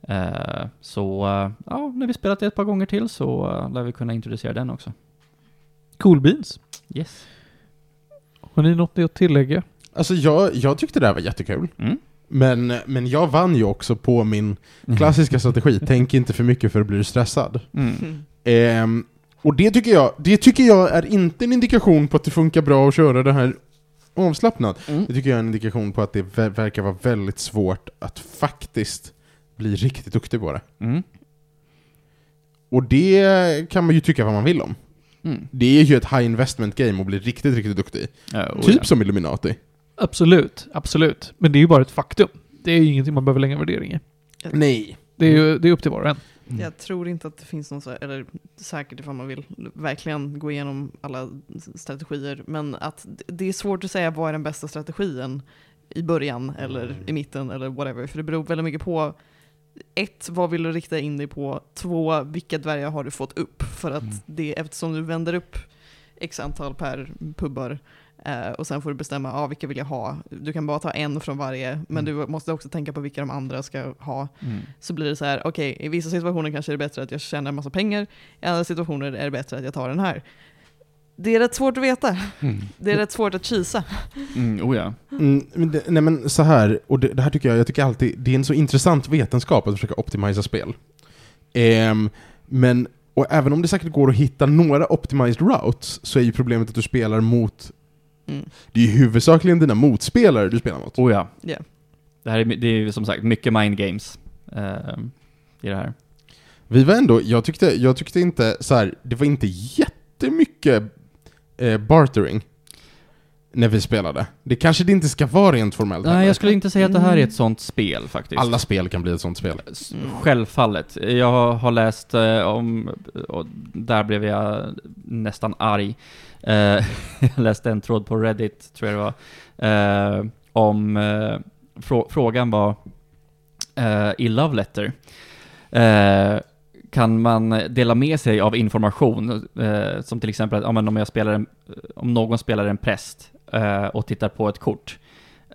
Speaker 4: Eh, så eh, ja, när vi spelat det ett par gånger till så eh, lär vi kunna introducera den också.
Speaker 2: Cool Beans.
Speaker 4: Yes.
Speaker 2: Har ni något att tillägga?
Speaker 1: Alltså jag, jag tyckte det här var jättekul.
Speaker 4: Mm.
Speaker 1: Men, men jag vann ju också på min klassiska strategi, tänk inte för mycket för att bli stressad.
Speaker 4: Mm.
Speaker 3: [LAUGHS] Mm.
Speaker 1: Ehm, och det tycker, jag, det tycker jag är inte en indikation på att det funkar bra att köra det här avslappnat.
Speaker 4: Mm.
Speaker 1: Det tycker jag är en indikation på att det ver- verkar vara väldigt svårt att faktiskt bli riktigt duktig på det.
Speaker 4: Mm.
Speaker 1: Och det kan man ju tycka vad man vill om.
Speaker 4: Mm.
Speaker 1: Det är ju ett high investment game att bli riktigt, riktigt duktig.
Speaker 4: Ja, oh
Speaker 1: typ
Speaker 4: ja.
Speaker 1: som Illuminati.
Speaker 2: Absolut, absolut. Men det är ju bara ett faktum. Det är ju ingenting man behöver lägga värdering i.
Speaker 1: Nej.
Speaker 2: Det är
Speaker 4: Mm.
Speaker 2: ju det är upp till var och en.
Speaker 3: Jag tror inte att det finns någon så här, eller säkert ifall man vill verkligen gå igenom alla s- strategier, men att d- det är svårt att säga vad är den bästa strategin i början eller i mitten eller whatever, för det beror väldigt mycket på ett, vad vill du rikta in dig på? Två, vilka dvärgar har du fått upp? För att det, eftersom du vänder upp x antal per pubbar eh, och sen får du bestämma ah, vilka vill jag ha. Du kan bara ta en från varje, men du måste också tänka på vilka de andra ska ha
Speaker 4: Mm.
Speaker 3: så blir det så här, okej, i vissa situationer kanske är det bättre att jag tjänar en massa pengar, i andra situationer är det bättre att jag tar den här. Det är rätt svårt att veta.
Speaker 4: Mm.
Speaker 3: Det är rätt svårt att kisa.
Speaker 4: Mm. Oh ja.
Speaker 1: Mm, men det, nej men så här, och det, det här tycker jag, jag tycker alltid, det är en så intressant vetenskap att försöka optimisa spel. Ehm, men, och även om det säkert går att hitta några optimized routes, så är ju problemet att du spelar mot,
Speaker 3: Mm.
Speaker 1: det är ju huvudsakligen dina motspelare du spelar mot.
Speaker 4: Oh ja.
Speaker 3: Ja.
Speaker 4: Det här är, det är ju som sagt mycket mind games eh, i det här.
Speaker 1: Vi var ändå, jag tyckte, jag tyckte inte så här, det var inte jättemycket eh, bartering när vi spelade. Det kanske det inte ska vara rent formellt
Speaker 4: Nej,
Speaker 1: heller.
Speaker 4: jag skulle inte säga att det här är
Speaker 3: Mm.
Speaker 4: ett sånt spel faktiskt.
Speaker 1: Alla spel kan bli ett sånt spel.
Speaker 4: S-
Speaker 3: Mm.
Speaker 4: Självfallet. Jag har läst eh, om, och där blev jag nästan arg. Eh, [LAUGHS] jag läste en tråd på Reddit, tror jag det var, eh, om, eh, frå- frågan var eh, i Love Letter. Eh, kan man dela med sig av information, eh, som till exempel att, ja, men om, jag spelar en, om någon spelar en präst eh, och tittar på ett kort,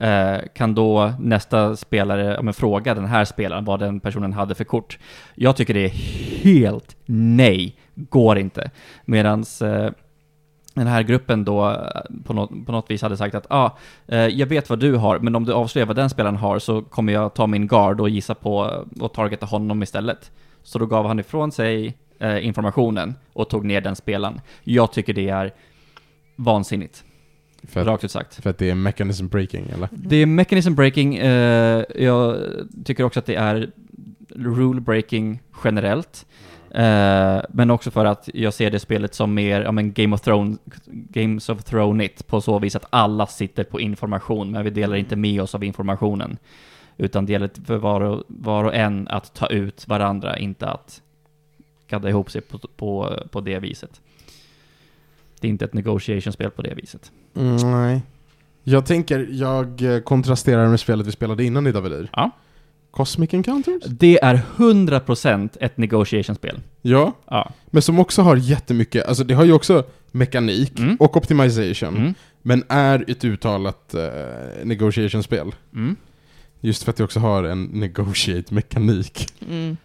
Speaker 4: Eh, kan då nästa spelare ja, men fråga den här spelaren vad den personen hade för kort. Jag tycker det är helt nej, går inte. Medan eh, den här gruppen då eh, på något, på något vis hade sagt att ah, eh, jag vet vad du har, men om du avslöjar vad den spelaren har så kommer jag ta min guard och gissa på eh, och targeta honom istället. Så då gav han ifrån sig eh, informationen och tog ner den spelaren. Jag tycker det är vansinnigt,
Speaker 1: För att,
Speaker 4: rakt ut sagt.
Speaker 1: för att det är mechanism breaking, eller?
Speaker 4: Det är mechanism breaking. Eh, jag tycker också att det är rule breaking generellt. Eh, men också för att jag ser det spelet som mer, ja men Game of Thrones, Games of Thrones it, på så vis att alla sitter på information, men vi delar inte med oss av informationen. Utan det gäller för var och, var och en att ta ut varandra, inte att gadda ihop sig på, på, på det viset. Det är inte ett negotiation-spel på det viset.
Speaker 1: Mm, nej. Jag tänker, jag eh, kontrasterar med spelet vi spelade innan i Davelir.
Speaker 4: Ja.
Speaker 1: Cosmic Encounters?
Speaker 4: Det är 100% ett negotiation-spel.
Speaker 1: Ja.
Speaker 4: Ja.
Speaker 1: Men som också har jättemycket, alltså det har ju också mekanik
Speaker 4: Mm.
Speaker 1: och optimization.
Speaker 4: Mm.
Speaker 1: Men är ett uttalat eh, negotiation-spel.
Speaker 4: Mm.
Speaker 1: Just för att det också har en negotiate-mekanik.
Speaker 3: Mm.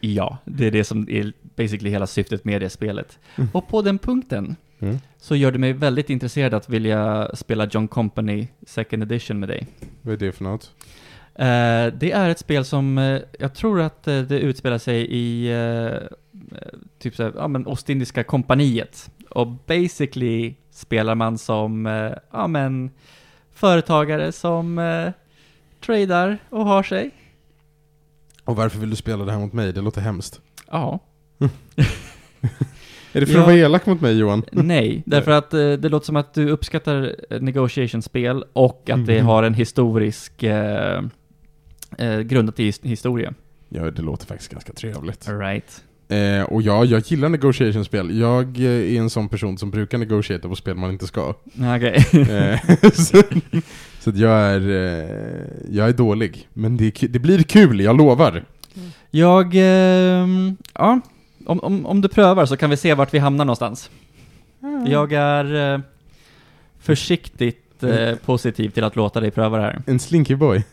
Speaker 4: Ja, det är det som är basically hela syftet med det spelet.
Speaker 1: Mm.
Speaker 4: Och på den punkten
Speaker 1: Mm.
Speaker 4: så gör det mig väldigt intresserad att vilja spela John Company Second Edition med dig.
Speaker 1: Vad är det för något?
Speaker 4: Eh, det är ett spel som, eh, jag tror att eh, det utspelar sig i eh, eh, typ såhär, ja men Ostindiska kompaniet. Och basically spelar man som, eh, ja men, företagare som eh, tradar och har sig.
Speaker 1: Och varför vill du spela det här mot mig? Det låter hemskt.
Speaker 4: Ja.
Speaker 1: Är det för
Speaker 4: Ja. Mm.
Speaker 1: att vara elak mot mig Johan?
Speaker 4: [LAUGHS] Nej, därför att eh, det låter som att du uppskattar eh, negotiation-spel och att det
Speaker 1: Mhm.
Speaker 4: har en historisk, eh, eh, grundat i his- historia.
Speaker 1: Ja, det låter faktiskt ganska trevligt.
Speaker 4: Right.
Speaker 1: Eh, och ja, jag gillar negotiation-spel. Jag eh, är en sån person som brukar negotiata på spel man inte
Speaker 2: [LAUGHS]
Speaker 1: ska.
Speaker 4: [LAUGHS] Okej.
Speaker 1: Eh, [LAUGHS] så så att jag är, eh, jag är dålig. Men det, är ku- det blir kul, jag lovar.
Speaker 4: Jag, ehm, ja. Om, om, om du prövar så kan vi se vart vi hamnar någonstans. Jag är eh, försiktigt eh, positiv till att låta dig pröva
Speaker 1: [LAUGHS]
Speaker 4: det här.
Speaker 1: En slinky boy.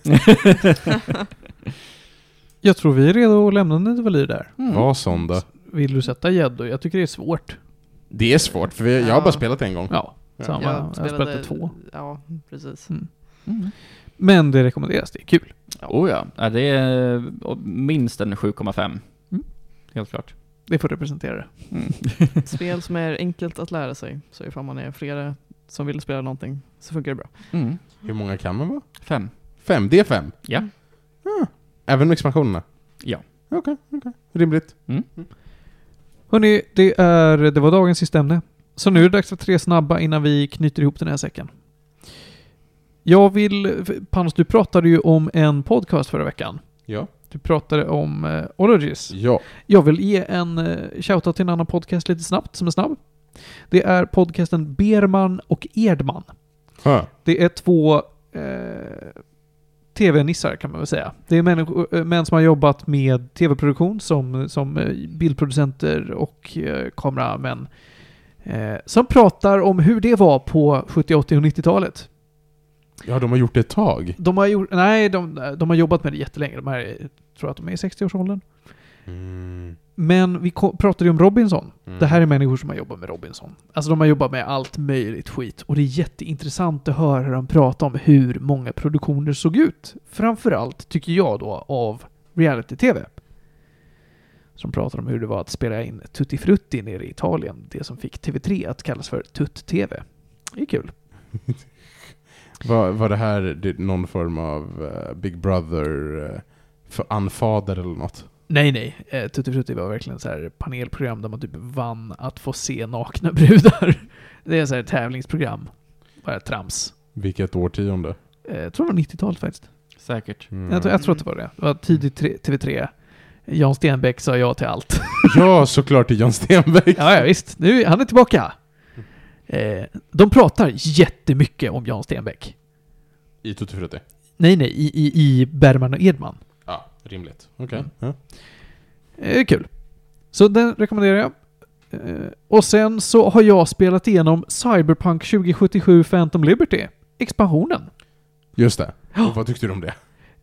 Speaker 2: Jag tror vi är redo att lämna Nidavellir där.
Speaker 1: Var sån
Speaker 4: Mm.
Speaker 1: då.
Speaker 2: Vill du sätta gäddor? Jag tycker det är svårt.
Speaker 1: Det är svårt, för vi, jag har
Speaker 3: Ja.
Speaker 1: bara spelat en gång.
Speaker 2: Ja, samma.
Speaker 3: Jag
Speaker 2: Jag har
Speaker 3: spelade-
Speaker 2: spelat två.
Speaker 3: Ja, precis.
Speaker 4: Mm.
Speaker 2: Men det rekommenderas, det är kul.
Speaker 4: Oh ja. ja, det är eh, minst en 7,5.
Speaker 2: Mm.
Speaker 4: Helt klart.
Speaker 2: Det får representera det.
Speaker 3: Ett spel som är enkelt att lära sig. Så ifall man är flera som vill spela någonting så funkar det bra.
Speaker 4: Mm.
Speaker 1: Hur många kan man vara?
Speaker 4: Fem.
Speaker 1: Fem? Det är fem?
Speaker 4: Ja.
Speaker 1: Ah, även med expansionerna?
Speaker 4: Ja.
Speaker 1: Okej, okej. Rimligt.
Speaker 2: Hörni, det, är, det var dagens sista ämne. Så nu är det dags för tre snabba innan vi knyter ihop den här säcken. Jag vill... Panos, du pratade ju om en podcast förra veckan.
Speaker 1: Ja.
Speaker 2: Du pratade om eh, Ologies.
Speaker 1: Ja.
Speaker 2: Jag vill ge en eh, shoutout till en annan podcast lite snabbt, som är snabb. Det är podcasten Berman och Erdman.
Speaker 1: Ha.
Speaker 2: Det är två eh, tv-nissar kan man väl säga. Det är människor, eh, män som har jobbat med tv-produktion som, som eh, bildproducenter och eh, kameramän. Eh, som pratar om hur det var på 70-, 80 och 90-talet.
Speaker 1: ja, de har gjort det ett tag.
Speaker 2: De har, gjort, nej, de, de har jobbat med det jättelänge. De här, är- jag tror att de är i 60-årsåldern. Men vi ko- pratade ju om Robinson. Det här är människor som har jobbat med Robinson. Alltså de har jobbat med allt möjligt skit. Och det är jätteintressant att höra dem prata om hur många produktioner såg ut. Framförallt, tycker jag då, av reality-tv. Som pratar om hur det var att spela in Tutti Frutti nere i Italien. Det som fick TV3 att kallas för Tutt-TV. Det är kul.
Speaker 1: Var, var det här det- någon form av eh, Big Brother eh, för anfader eller något?
Speaker 2: Nej, nej. Eh, Tutti Frutti var verkligen så här panelprogram där man typ vann att få se nakna [LAUGHS] brudar. Det är så här tävlingsprogram. Bara trams.
Speaker 1: Vilket årtionde?
Speaker 2: Eh, Jag tror det var 90-talet faktiskt.
Speaker 4: Säkert.
Speaker 1: Mm.
Speaker 2: Jag, tror, jag tror att det var det. Det var tidigt tre- TV3. Jan Stenbeck sa ja till allt.
Speaker 1: Ja, såklart till John Stenbeck.
Speaker 2: [LAUGHS] Ja, ja visst. Nu, han är tillbaka. Eh, de pratar jättemycket om Jan Stenbeck.
Speaker 1: I Tutti Frutti.
Speaker 2: Nej, nej, i, i, i Bergman och Edman.
Speaker 1: Ja, rimligt. Okej.
Speaker 2: Mm.
Speaker 1: Ja.
Speaker 2: Eh, kul. Så den rekommenderar jag. Eh, och sen så har jag spelat igenom Cyberpunk 2077 Phantom Liberty. Expansionen.
Speaker 1: Just det. Och vad tyckte du om det?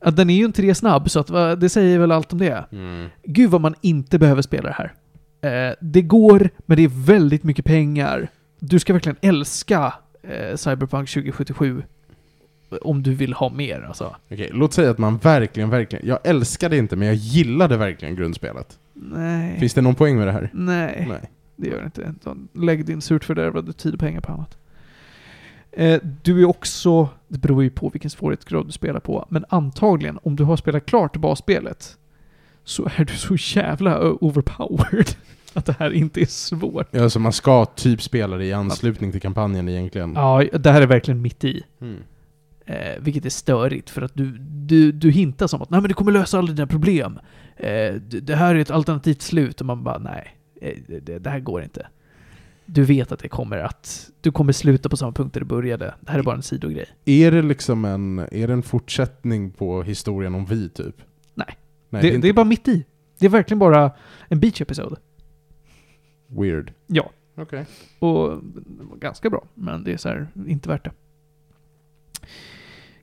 Speaker 2: Ja, den är ju inte det snabb, så att, va, det säger väl allt om det.
Speaker 1: Mm.
Speaker 2: Gud vad man inte behöver spela det här. Eh, det går, men det är väldigt mycket pengar. Du ska verkligen älska eh, Cyberpunk 2077 om du vill ha mer alltså.
Speaker 1: Okej, låt säga att man verkligen, verkligen... Jag älskade inte, men jag gillade verkligen grundspelet.
Speaker 2: Nej.
Speaker 1: Finns det någon poäng med det här?
Speaker 2: Nej,
Speaker 1: Nej.
Speaker 2: det gör det inte. Utan Lägg din surt fördärvade tid och pengar på annat. Eh, du är också, det beror ju på vilken svårighetsgrad du spelar på, men antagligen om du har spelat klart basspelet så är du så jävla ö- overpowered [LAUGHS] att det här inte är svårt.
Speaker 1: Ja, så man ska typ spela det i anslutning till kampanjen egentligen.
Speaker 2: Ja, det här är verkligen mitt i.
Speaker 1: Mm.
Speaker 2: Eh, vilket är störigt för att du, du, du hintar som att nej men det kommer lösa alla dina problem. Eh, d- det här är ett alternativt slut och man bara nej, eh, det, det här går inte. Du vet att det kommer att, du kommer sluta på samma punkt där du började. Det här är bara en sidogrej.
Speaker 1: Är det liksom en, är det en fortsättning på historien om vi, typ?
Speaker 2: Nej.
Speaker 1: Nej,
Speaker 2: det,
Speaker 1: det är inte
Speaker 2: det är bara mitt i. Det är verkligen bara en beach episode.
Speaker 1: weird.
Speaker 2: Ja.
Speaker 1: Okej.
Speaker 2: Och det var ganska bra, men det är så här, inte värt det.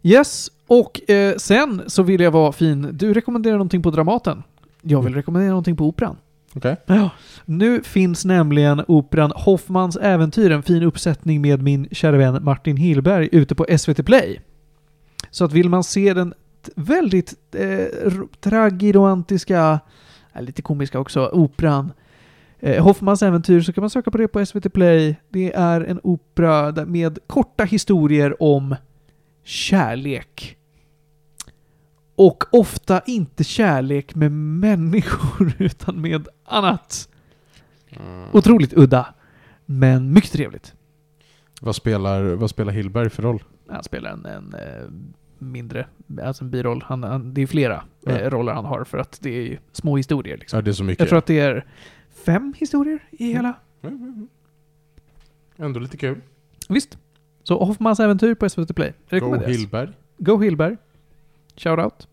Speaker 2: Yes, och eh, sen så vill jag vara fin. Du rekommenderar någonting på Dramaten. Jag vill rekommendera någonting på Operan.
Speaker 1: Okej.
Speaker 2: Ja, nu finns nämligen operan Hoffmans äventyr, en fin uppsättning med min kära vän Martin Hillberg, ute på SVT Play. Så att vill man se den t- väldigt eh, r- tragiromantiska, eh, lite komiska också, operan eh, Hoffmans äventyr så kan man söka på det på SVT Play. Det är en opera där- med korta historier om kärlek. Och ofta inte kärlek med människor [LAUGHS] utan med annat.
Speaker 1: Eh,
Speaker 2: Otroligt udda. Men mycket trevligt.
Speaker 1: Vad, spelar, vad spelar Hillberg för roll?
Speaker 2: Han spelar en, en eh, mindre, alltså en biroll. Han, han, det är flera
Speaker 1: Ja.
Speaker 2: eh, roller han har för att det är ju små historier. Liksom.
Speaker 1: Ja, det är så mycket.
Speaker 2: Jag tror att det är fem historier i hela.
Speaker 1: Ändå lite kul.
Speaker 2: Visst. Så Hoffmans äventyr på SVT Play.
Speaker 1: Go
Speaker 2: Rekommenderas.
Speaker 1: Hillberg.
Speaker 2: Go Hillberg. Shoutout.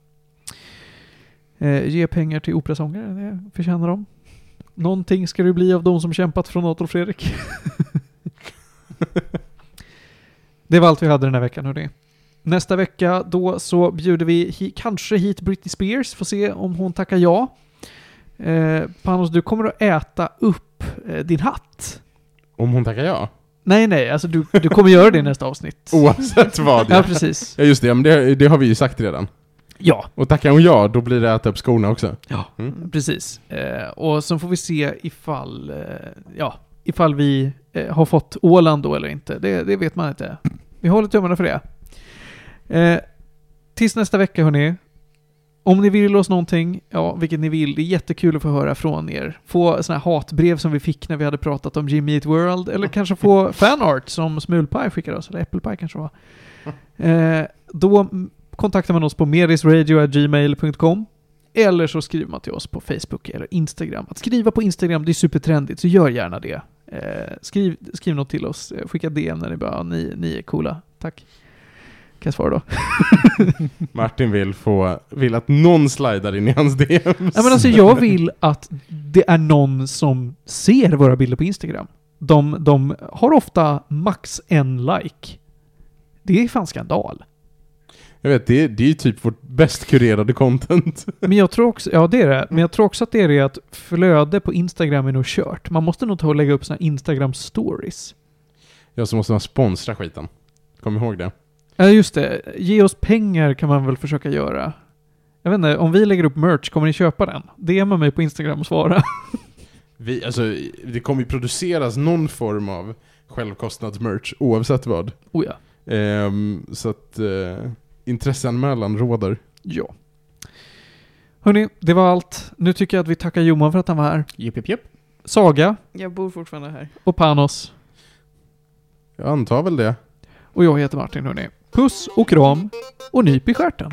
Speaker 2: Eh, ge pengar till operasångare, det förtjänar de. Någonting ska det bli av de som kämpat från Adolf Fredrik. [LAUGHS] det var allt vi hade den här veckan, hörni. Nästa vecka då så bjuder vi hi- kanske hit Britney Spears, får se om hon tackar ja. Eh, Panos, du kommer att äta upp eh, din hatt.
Speaker 1: Om hon tackar ja. [LAUGHS]
Speaker 2: Nej, nej, alltså du, du kommer göra det i nästa avsnitt.
Speaker 1: Oh, Oavsett vad.
Speaker 2: Ja,
Speaker 1: Ja,
Speaker 2: precis.
Speaker 1: ja just det, ja, men det, det har vi ju sagt redan.
Speaker 2: Ja.
Speaker 1: Och tackar hon ja, då blir det äta upp skorna
Speaker 2: [LAUGHS]
Speaker 1: också.
Speaker 2: Precis. Eh, och sen får vi se ifall, eh, ja, ifall vi eh, har fått Åland då eller inte. Det, det vet man inte. Vi håller tummarna för det. Eh, tills nästa vecka hörni. Om ni vill oss någonting, ja, vilket ni vill, det är jättekul att få höra från er. Få såna här hatbrev som vi fick när vi hade pratat om Jimmy Eat World, [LAUGHS] eller kanske få fanart som Smulpaj skickade oss, eller Äppelpaj kanske det var. Eh, då mm, kontaktar man oss på merisradio.gmail.com eller så skriver man till oss på Facebook eller Instagram. Att skriva på Instagram, det är supertrendigt, så gör gärna det. Eh, skriv, skriv något till oss, Eh, skicka DM när ni bara, "Ja, ni, ni är coola, tack. Kan jag svara då?
Speaker 1: Martin vill, få, vill att någon slidar in i hans DMs.
Speaker 2: Ja, men alltså, jag vill att det är någon som ser våra bilder på Instagram. De, de har ofta max en like. Det är fan skandal.
Speaker 1: Jag vet, det, är- det är ju typ vårt bäst kurerade content.
Speaker 2: Men jag tror också, ja det är det, men jag tror också att det är det att flöde på Instagram är nog kört. Man måste nog ta och lägga upp såna Instagram stories.
Speaker 1: Jag som måste man sponsra skiten. Kom ihåg det.
Speaker 2: Ja, just det. Ge oss pengar kan man väl försöka göra. Jag vet inte, om vi lägger upp merch, kommer ni köpa den? DMa mig på Instagram och svara. [LAUGHS]
Speaker 1: Vi, alltså, det kommer ju produceras någon form av självkostnadsmerch oavsett vad.
Speaker 2: Oh ja.
Speaker 1: Ehm, så att eh, intresseanmälan råder.
Speaker 2: Ja. Hörni, det var allt. Nu tycker jag att vi tackar Johan för att han var här.
Speaker 4: Jupp, jupp, jupp.
Speaker 2: Saga
Speaker 3: Jag bor fortfarande här.
Speaker 2: och Panos.
Speaker 1: Jag antar väl det.
Speaker 2: Och jag heter Martin, hörni. Puss och kram och nyp i stjärten.